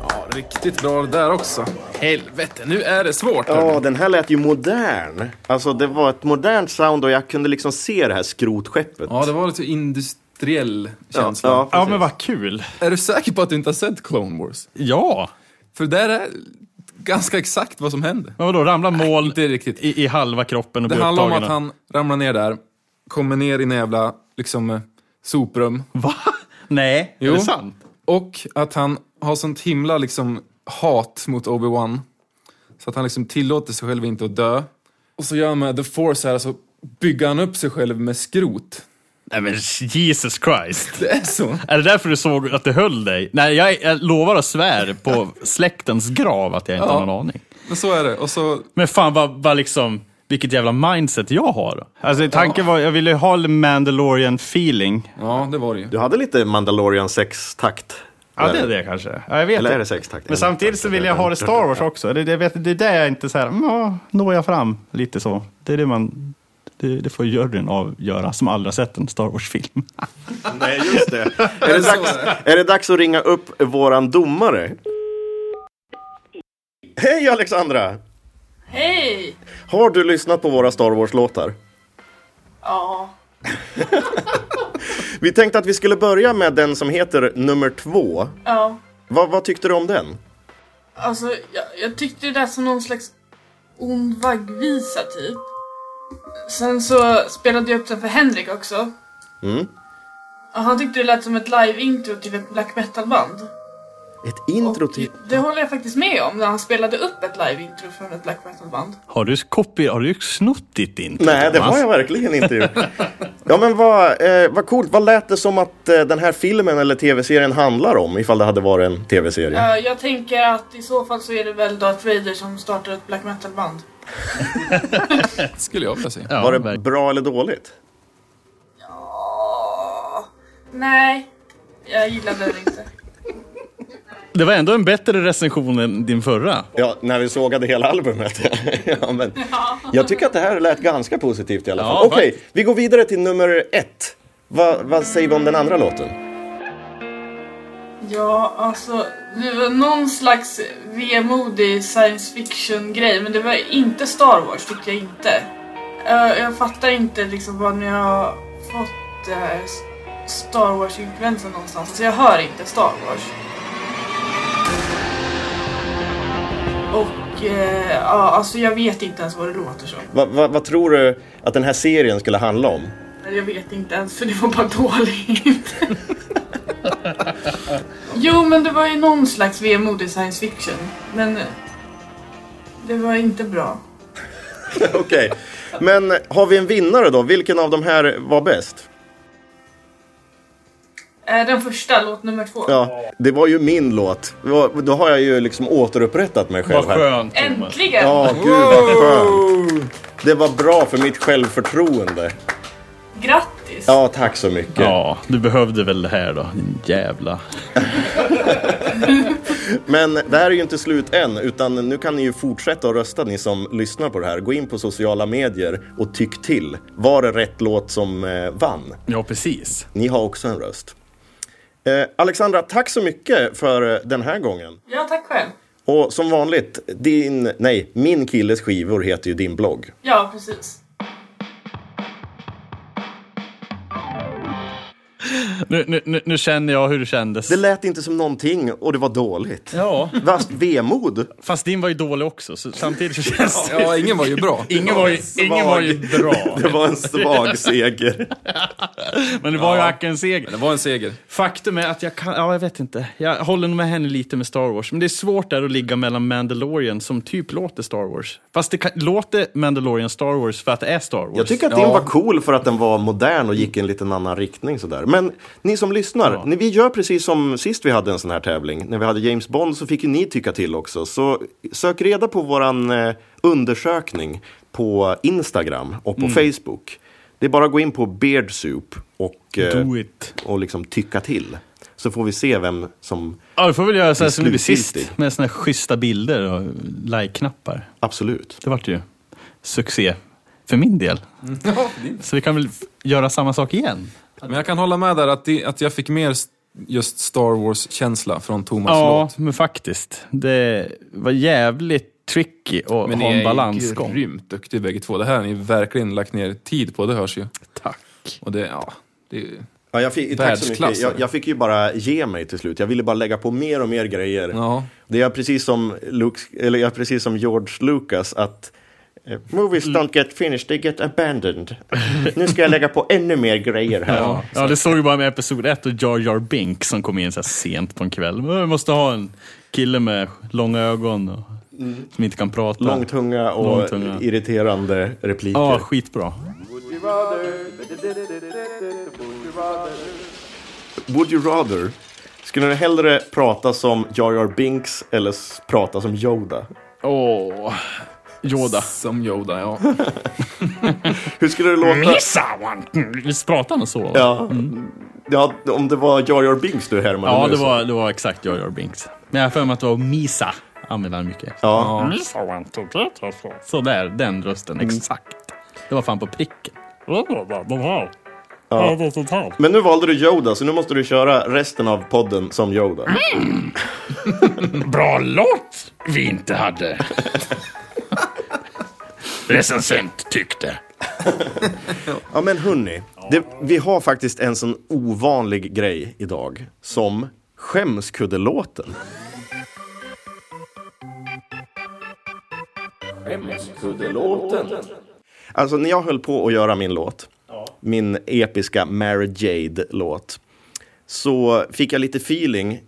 S3: Ja, riktigt bra det där också. Helvete, nu är det svårt.
S1: Ja,
S3: hörni.
S1: den här lät ju modern. Alltså det var ett modernt sound och jag kunde liksom se det här skrotskeppet.
S3: Ja, det var lite industriell känsla.
S1: ja,
S2: Ja, men vad kul.
S3: Är du säker på att du inte har sett Clone Wars?
S2: Ja!
S3: För där är ganska exakt vad som händer.
S2: Men vadå, ramlar mål
S3: Inte riktigt.
S2: i, i halva kroppen och
S3: Det
S2: blir
S3: handlar om
S2: upptagen
S3: att
S2: och-
S3: han ramlar ner där, kommer ner i en jävla liksom, eh, soprum.
S2: Va? Nej,
S3: Jo.
S2: är det sant?
S3: Och att han har sånt himla liksom, hat mot Obi-Wan. Så att han liksom tillåter sig själv inte att dö. Och så gör han med The Force här, så bygger han upp sig själv med skrot.
S2: Nej men Jesus Christ.
S3: Det är så.
S2: Är det därför du såg att det höll dig? Nej, jag, jag lovar och svär på släktens grav att jag inte
S3: Ja.
S2: har någon aning.
S3: Men så är det. Och så,
S2: Men fan vad, vad liksom, vilket jävla mindset jag har. då. Alltså tanken var, jag ville ju ha Mandalorian feeling.
S3: ja, det var det ju.
S1: Du hade lite Mandalorian sextakt.
S2: Ja, det
S1: Eller-
S2: är det kanske. Ja, jag vet
S1: Eller är det
S2: inte.
S1: sextakt?
S2: Men samtidigt så vill jag ha det Star Wars också. Det, det, vet, det är där jag inte så här, mm, ja, når jag fram lite så. Det är det man, det, det får juryn avgöra som aldrig har sett en Star Wars-film.
S1: Nej, just det. är, det dags, är det dags att ringa upp våran domare? Hej Alexandra!
S12: Hej!
S1: Har du lyssnat på våra Star Wars-låtar?
S12: Ja.
S1: Vi tänkte att vi skulle börja med den som heter nummer två.
S12: Ja.
S1: Vad, vad tyckte du om den?
S12: Alltså, jag, jag tyckte det där som någon slags ond vaggvisa typ. Sen så spelade jag upp den för Henrik också.
S1: Mm.
S12: Och han tyckte det lät som ett live-intro till ett black metal-band.
S1: Ett intro till...
S12: Det håller jag faktiskt med om när han spelade upp ett live-intro från ett black metal-band.
S2: Har du, copy, har du snott ditt intro?
S1: Nej, det
S2: Thomas?
S1: har jag verkligen inte gjort. Ja, men vad, eh, vad coolt. Vad lät det som att eh, den här filmen eller tv-serien handlar om? Ifall det hade varit en tv-serie.
S12: Eh, jag tänker att i så fall så är det väl Darth Vader som startar ett black metal-band.
S3: Skulle jag vilja säga.
S1: Var
S2: Ja,
S1: det bra eller dåligt?
S12: Nej, jag gillade det inte.
S2: Det var ändå en bättre recension än din förra.
S1: Ja, när vi sågade hela albumet. ja, men jag tycker att det här lät ganska positivt i alla fall.
S2: Ja,
S1: Okej, vi går vidare till nummer ett. Vad, vad säger vi om den andra låten?
S12: Ja, alltså det var någon slags vemodig science fiction grej men det var inte Star Wars tyckte jag inte. Eh, jag fattar inte liksom var ni har fått det här S- Star Wars-influensen någonstans. Alltså jag hör inte Star Wars. Och eh, ja, alltså jag vet inte ens vad det låter som.
S1: Vad, vad, vad tror du att den här serien skulle handla om?
S12: Eller Jag vet inte ens för det var bara dåligt. jo men det var ju någon slags vemodig science fiction. Men eh, det var inte bra.
S1: Okej, men har vi en vinnare då? Vilken av de här var bäst?
S12: Eh, Den första, låt nummer två.
S1: Ja, det var ju min låt. Det var- Då har jag ju liksom återupprättat mig själv. här.
S12: Äntligen!
S1: Ja, gud vad skönt. Det var bra för mitt självförtroende.
S12: Grattis!
S1: Ja, tack så mycket.
S2: Ja, du behövde väl det här då, din jävla...
S1: Men det här är ju inte slut än, utan nu kan ni ju fortsätta att rösta, ni som lyssnar på det här. Gå in på sociala medier och tyck till. Var det rätt låt som eh, vann?
S2: Ja, precis.
S1: Ni har också en röst. Eh, Alexandra, tack så mycket för eh, den här gången.
S12: Ja, tack själv.
S1: Och som vanligt, din, nej, min killes skivor heter ju din blogg.
S12: Ja, precis.
S2: Nu, nu, nu, nu känner jag hur det kändes.
S1: Det lät inte som någonting och det var dåligt.
S2: Ja.
S1: Fast vemod.
S2: Fast din var ju dålig också, så samtidigt så känns det...
S3: Ja, ingen var ju bra.
S2: Ingen var ju, ingen var ju bra.
S1: Det var en svag seger.
S2: Men det var ju hack en seger.
S3: Det var en seger.
S2: Faktum är att jag kan, ja jag vet inte. Jag håller nog med henne lite med Star Wars. Men det är svårt där att ligga mellan Mandalorian som typ låter Star Wars. Fast det kan, låter Mandalorian Star Wars för att det är Star Wars.
S1: Jag tycker att din var cool för att den var modern och gick i en liten annan riktning sådär. Men ni som lyssnar, ni, vi gör precis som sist vi hade en sån här tävling. När vi hade James Bond så fick ju ni tycka till också. Så sök reda på våran eh, undersökning på Instagram och på
S2: Mm.
S1: Facebook. Det är bara att gå in på Beard Soup och, eh,
S2: Do it.
S1: och liksom tycka till. Så får vi se vem som...
S2: Ja, du får väl göra så här som vi gjorde
S1: Slutgiltig.
S2: sist. Med såna här schyssta bilder och like-knappar.
S1: Absolut.
S2: Det vart ju succé. För min del. Så vi kan väl f- göra samma sak igen.
S3: Men jag kan hålla med där att, det, att jag fick mer s- just Star Wars-känsla från Thomas
S2: ja,
S3: låt.
S2: men faktiskt. Det var jävligt tricky att
S3: Men
S2: ha
S3: ni
S2: en
S3: är
S2: balansgång.
S3: grymt duktiga bägge två. Det här har ni verkligen lagt ner tid på, det hörs ju. Tack. Och det, ja, det är
S1: Ja, jag fick, tack så mycket.
S3: Världsklass,
S1: Jag,
S3: eller?
S1: jag fick ju bara ge mig till slut. Jag ville bara lägga på mer och mer grejer. Det är precis som, Luke, eller jag är precis som George Lucas att eh, Movies don't get finished, they get abandoned. nu ska jag lägga på ännu mer grejer här.
S2: Ja, ja, det såg ju bara med episod ett och Jar Jar Bink som kom in så här sent på en kväll. Men Vi måste ha en kille med långa ögon och, som inte kan prata.
S1: Långtunga och
S2: Långtunga. Ah,
S1: irriterande repliker.
S2: Ja, skitbra.
S1: Would you rather? Skulle du hellre prata som Jar Jar Binks eller s- prata som Yoda?
S2: Åh, Yoda.
S3: Som Yoda, ja.
S1: Hur skulle det låta?
S2: Visst pratar han så? va?
S1: Ja. ja, om det var Jar Jar Binks du härmade
S2: Ja,
S1: nu,
S2: det
S1: så-
S2: var, det var exakt Jar Jar Binks. Men jag har för mig att det var Misa. Använde han mycket.
S1: Ja.
S2: Så där, den rösten
S1: Mm.
S2: exakt. Det var fan på pricken.
S1: Ja. Men nu valde du Yoda, så nu måste du köra resten av podden som Yoda.
S13: Bra låt vi inte hade. Recensent tyckte.
S1: Ja men hörni, det, vi har faktiskt en sån ovanlig grej idag som skämskuddelåten.
S13: Skämskuddelåten.
S1: Alltså när jag höll på att göra min låt, min episka Mary Jade-låt, så fick jag lite feeling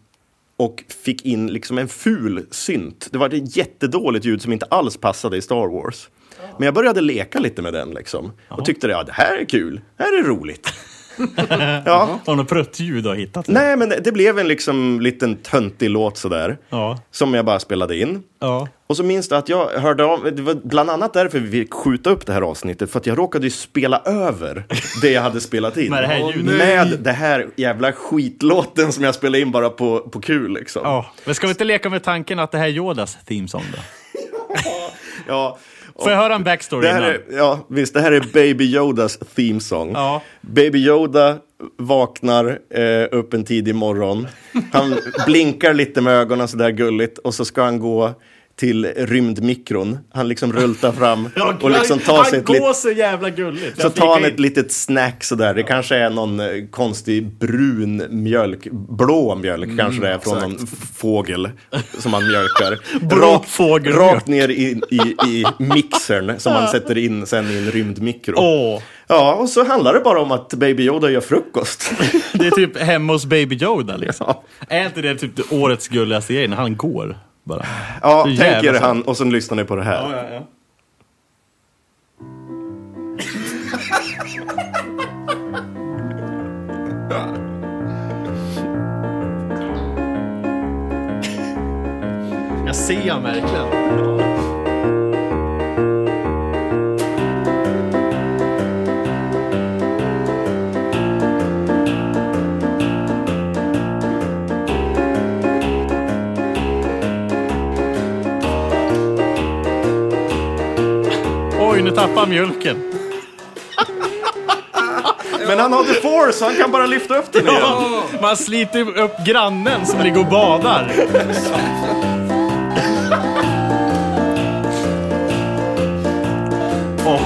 S1: och fick in liksom en ful synt. Det var ett jättedåligt ljud som inte alls passade i Star Wars. Men jag började leka lite med den liksom och tyckte ja, det här är kul, det här är roligt. ja.
S2: Har du något pruttljud du har hittat?
S1: Nej, men det, det blev en liksom liten töntig låt sådär.
S2: Ja.
S1: Som jag bara spelade in.
S2: Ja.
S1: Och så minns jag att jag hörde av, det var bland annat därför vi fick skjuta upp det här avsnittet, för att jag råkade ju spela över det jag hade spelat in.
S2: Med det här ljudet.
S1: Med det här jävla skitlåten som jag spelade in bara på, på kul liksom.
S2: Ja. Men ska vi inte leka med tanken att det här är Yodas theme song då?
S1: Ja.
S2: Får jag höra en backstory
S1: Det här
S2: innan?
S1: är, ja, visst, det här är Baby Yodas theme song.
S2: Ja.
S1: Baby Yoda vaknar eh, upp en tidig morgon. Han blinkar lite med ögonen sådär gulligt och så ska han gå till rymdmikron. Han liksom rultar fram och liksom tar sig ett
S2: Han går
S1: litet...
S2: så jävla gulligt.
S1: Så
S2: Jag
S1: tar han
S2: fikar
S1: ett litet snack sådär. Det kanske är någon eh, konstig brun mjölk, blå mjölk
S2: Mm,
S1: kanske det är från
S2: exakt.
S1: någon f- fågel som man mjölkar.
S2: Blå
S1: Rakt-
S2: fågelmjölk.
S1: Rakt ner i, i, i mixern som man sätter in sen i en rymdmikro. Ja, och så handlar det bara om att Baby Yoda gör frukost.
S2: Det är typ hemma hos Baby Yoda liksom. Är inte det typ det årets gulligaste grej när han går? Bara.
S1: Ja,
S2: Så jävla
S1: tänk er
S2: sant.
S1: han och sen lyssnar ni på det här.
S2: Ja, ja, ja. Jag ser han verkligen. Oj, nu tappar han mjölken.
S1: Men han har the force, han kan bara lyfta upp den igen.
S2: Ja, man sliter upp grannen som ligger och badar. Åh,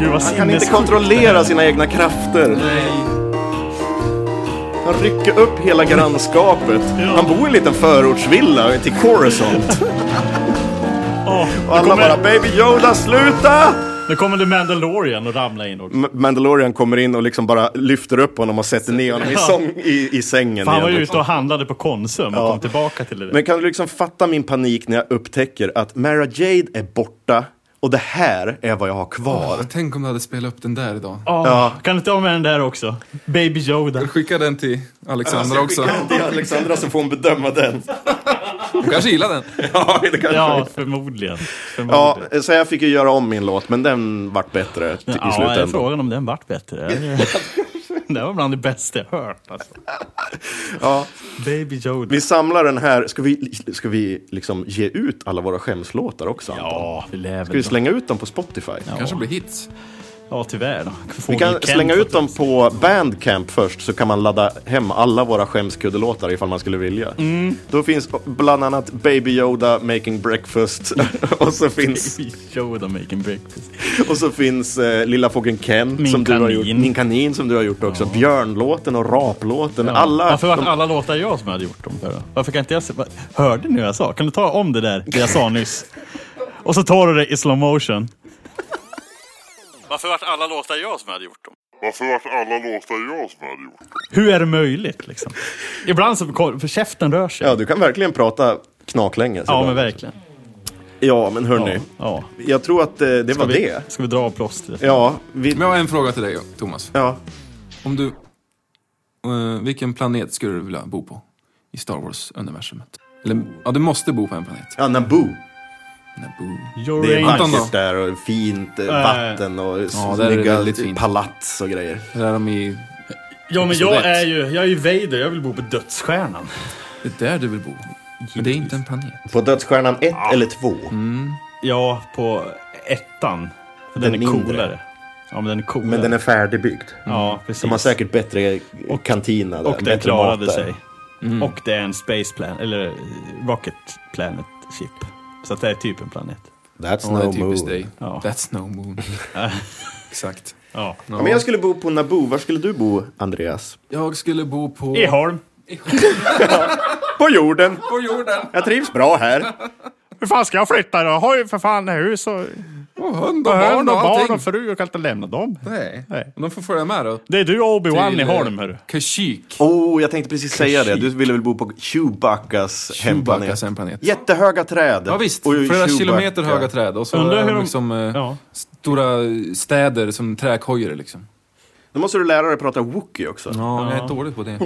S2: gud vad
S1: Han kan inte
S2: sinnessjukt det
S1: kontrollera
S2: här.
S1: sina egna krafter. Han rycker upp hela grannskapet. Han bor i en liten förortsvilla till Coruscant.
S2: Åh, nu
S1: Och alla
S2: kommer-
S1: bara “Baby Yoda, sluta!”
S2: Nu kommer The Mandalorian och ramla in också.
S1: M- Mandalorian kommer in och liksom bara lyfter upp honom och sätter ner honom i,
S2: Ja.
S1: sång, i, i sängen.
S2: För han var
S1: igen,
S2: ju
S1: liksom.
S2: ute och handlade på Konsum och
S1: Ja.
S2: kom tillbaka till det. där.
S1: Men kan du liksom fatta min panik när jag upptäcker att Mara Jade är borta och det här är vad jag har kvar.
S3: Åh, tänk om du hade spelat upp den där idag.
S2: Åh, Kan du inte ha med den där också? Baby Yoda.
S3: Skicka den till Alexandra
S1: Jag ska
S3: också.
S1: skicka den till Alexandra så får hon bedöma den.
S3: Hon kanske gillar den.
S1: Ja, det kanske
S2: Ja, förmodligen.
S1: Ja, så jag fick ju göra om min låt, men den vart bättre t- i
S2: Ja, är
S1: slutändan.
S2: frågan om den vart bättre. det var bland det bästa jag hört. Alltså.
S1: Ja.
S2: Baby Yoda.
S1: Vi samlar den här. Ska vi, ska vi liksom ge ut alla våra skämslåtar också, Anton? Ja,
S2: vi lär
S1: Ska vi slänga ut dem på Spotify?
S3: kanske blir hits.
S2: Ja, tyvärr. Då. Får
S1: Vi kan
S2: weekend
S1: slänga
S2: för
S1: ut dem på Bandcamp först, så kan man ladda hem alla våra skämskuddelåtar ifall man skulle vilja.
S2: Mm.
S1: Då finns bland annat Baby Yoda Making Breakfast och så finns...
S2: Baby Yoda Making Breakfast.
S1: Och så finns eh, Lilla Fågeln Ken,
S2: Min
S1: som du har
S2: kanin.
S1: gjort. Min kanin som du har gjort också. Björnlåten och raplåten.
S2: Ja.
S1: Alla...
S2: Varför var
S1: de-
S2: alla låtar jag som hade gjort dem för? då? Varför kan inte jag... se- va- Hörde ni vad jag sa? Kan du ta om det där, det jag sa nyss? Och så tar du det i slow motion. Varför vart alla låtar jag som hade gjort dem?
S14: Varför vart alla låtar jag som hade gjort dem?
S2: Hur är det möjligt liksom? Ibland så... För käften rör sig.
S1: Ja, du kan verkligen prata knaklänge.
S2: Ja, men verkligen.
S1: Ja, men hörni.
S2: Ja.
S1: Jag tror att eh, det var
S3: vi-
S1: det.
S2: Ska vi dra av plåstret?
S1: Ja, vi...
S3: Men jag har en fråga till dig, Thomas.
S1: Ja.
S3: Om du... eh, vilken planet skulle du vilja bo på i Star Wars-universumet? Eller, ja, du måste bo på en planet.
S1: Ja, Naboo.
S3: Naboo.
S1: Det är
S3: Anton då?
S1: vackert där och fint eh,
S2: Äh.
S1: vatten och
S3: Ja, där är det
S1: snygga
S3: väldigt fint.
S1: palats och grejer.
S3: Där är de i...
S2: Ja, men
S3: Sovjet.
S2: jag är ju... Jag är ju Vader. Jag vill bo på Dödsstjärnan.
S3: Det är där du vill bo. Men det är inte en planet.
S1: På Dödsstjärnan 1 eller 2?
S2: Mm, Ja, på ettan. För den,
S1: Den
S2: är
S1: mindre.
S2: coolare. Ja, men den är coolare.
S1: Men den är färdigbyggd.
S2: Ja, precis.
S1: De har säkert bättre kantina där.
S2: Och den
S1: bättre Mm.
S2: klarade
S1: mat där.
S2: sig. Och det är en Space Planet, eller eh, Rocket Planet Ship. Så att det är typ en planet.
S1: That's
S3: Ja, det är
S1: no
S3: typiskt
S1: moon.
S3: dig. That's no moon. Exakt.
S2: Ja.
S1: Ja, men jag skulle bo på Naboo. Var skulle du bo, Andreas?
S3: Jag skulle bo på...
S2: I Holm.
S1: På jorden.
S3: På jorden.
S1: Jag trivs bra här.
S2: Hur fan ska jag flytta då? Jag har ju för fan hus och...
S3: Och hund och barn och allting.
S2: fru. Jag kan inte lämna dem.
S3: Nej. De får följa med då.
S2: Det är du och Obi-Wan
S3: Till,
S2: i
S3: eh,
S2: Holm, hörru.
S3: Kashyyyk.
S1: Oh, jag tänkte precis säga det. Du ville väl bo på Chewbaccas hemplanet?
S3: Chewbaccas hemplanet.
S1: Jättehöga träd.
S3: Ja visst,
S1: Och
S3: flera
S1: Chewbacca.
S3: kilometer höga träd och så
S2: Undrar
S3: är
S2: hur
S3: de
S2: de-
S3: liksom eh, stora städer som träkojor liksom.
S1: Då måste du lära dig att prata wookie också.
S3: Ja, jag är dålig på det.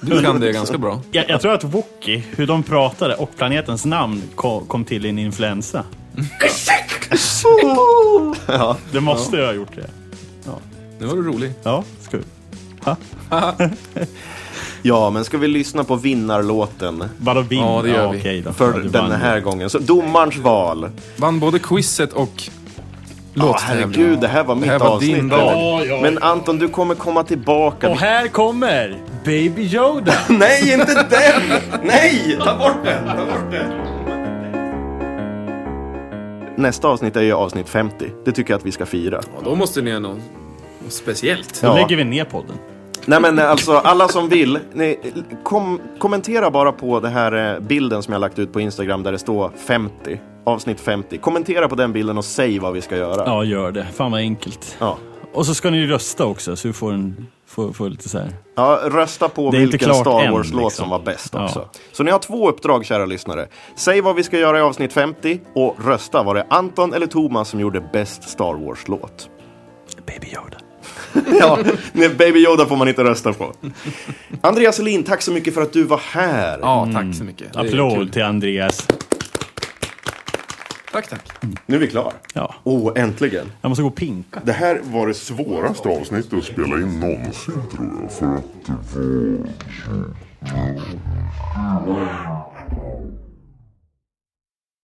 S3: Du kan det ganska bra.
S2: Jag, jag tror att Wookie, hur de pratade och planetens namn ko- kom till i en influensa.
S1: Ja.
S2: Det måste jag ha gjort det.
S3: Nu var du rolig.
S2: Ja, ska vi. Ha?
S1: ja, men ska vi lyssna på vinnarlåten?
S2: Vadå vinn?
S3: Ja, det gör vi.
S2: okej då.
S1: För
S2: Ja, du
S1: den
S2: vann.
S1: här gången. Så domarens val.
S3: Vann både quizet och
S1: Ja, herregud, det här var mitt
S3: här var
S1: avsnitt.
S3: din
S1: Dag.
S3: dag. Ja, ja.
S1: Men Anton, du kommer komma tillbaka.
S15: Och här kommer Baby Yoda.
S1: Nej, inte den! Nej, ta bort den! Ta bort den! Nästa avsnitt är ju avsnitt 50. Det tycker jag att vi ska fira.
S3: Då måste ni göra något något speciellt.
S1: Då Ja. lägger
S2: vi ner podden.
S1: Nej men alltså, alla som vill, ni, kom, kommentera bara på den här eh, bilden som jag lagt ut på Instagram där det står 50, avsnitt 50. Kommentera på den bilden och säg vad vi ska göra.
S2: Ja, gör det. Fan vad enkelt.
S1: Ja.
S2: Och så ska ni rösta också, så vi får, en, får, får lite så här.
S1: Ja, rösta på
S2: Det är inte
S1: vilken
S2: klart
S1: Star
S2: än,
S1: Wars-låt
S2: liksom.
S1: som var bäst
S2: Ja.
S1: också. Så ni har två uppdrag, kära lyssnare. Säg vad vi ska göra i avsnitt 50 och rösta. Var det Anton eller Thomas som gjorde bäst Star Wars-låt? Baby Yoda. ja, nej, Baby Yoda får man inte rösta på. Andreas Elin, tack så mycket för att du var här.
S3: Ja, tack så mycket. Det är kul.
S2: Applåd till Andreas.
S3: Tack, tack.
S1: Nu är vi klar.
S2: Ja.
S1: Oh, äntligen.
S2: Jag måste gå och pinka.
S1: Det här var det svåra.
S14: Svåraste avsnittet att spela in någonsin tror jag. För att det var...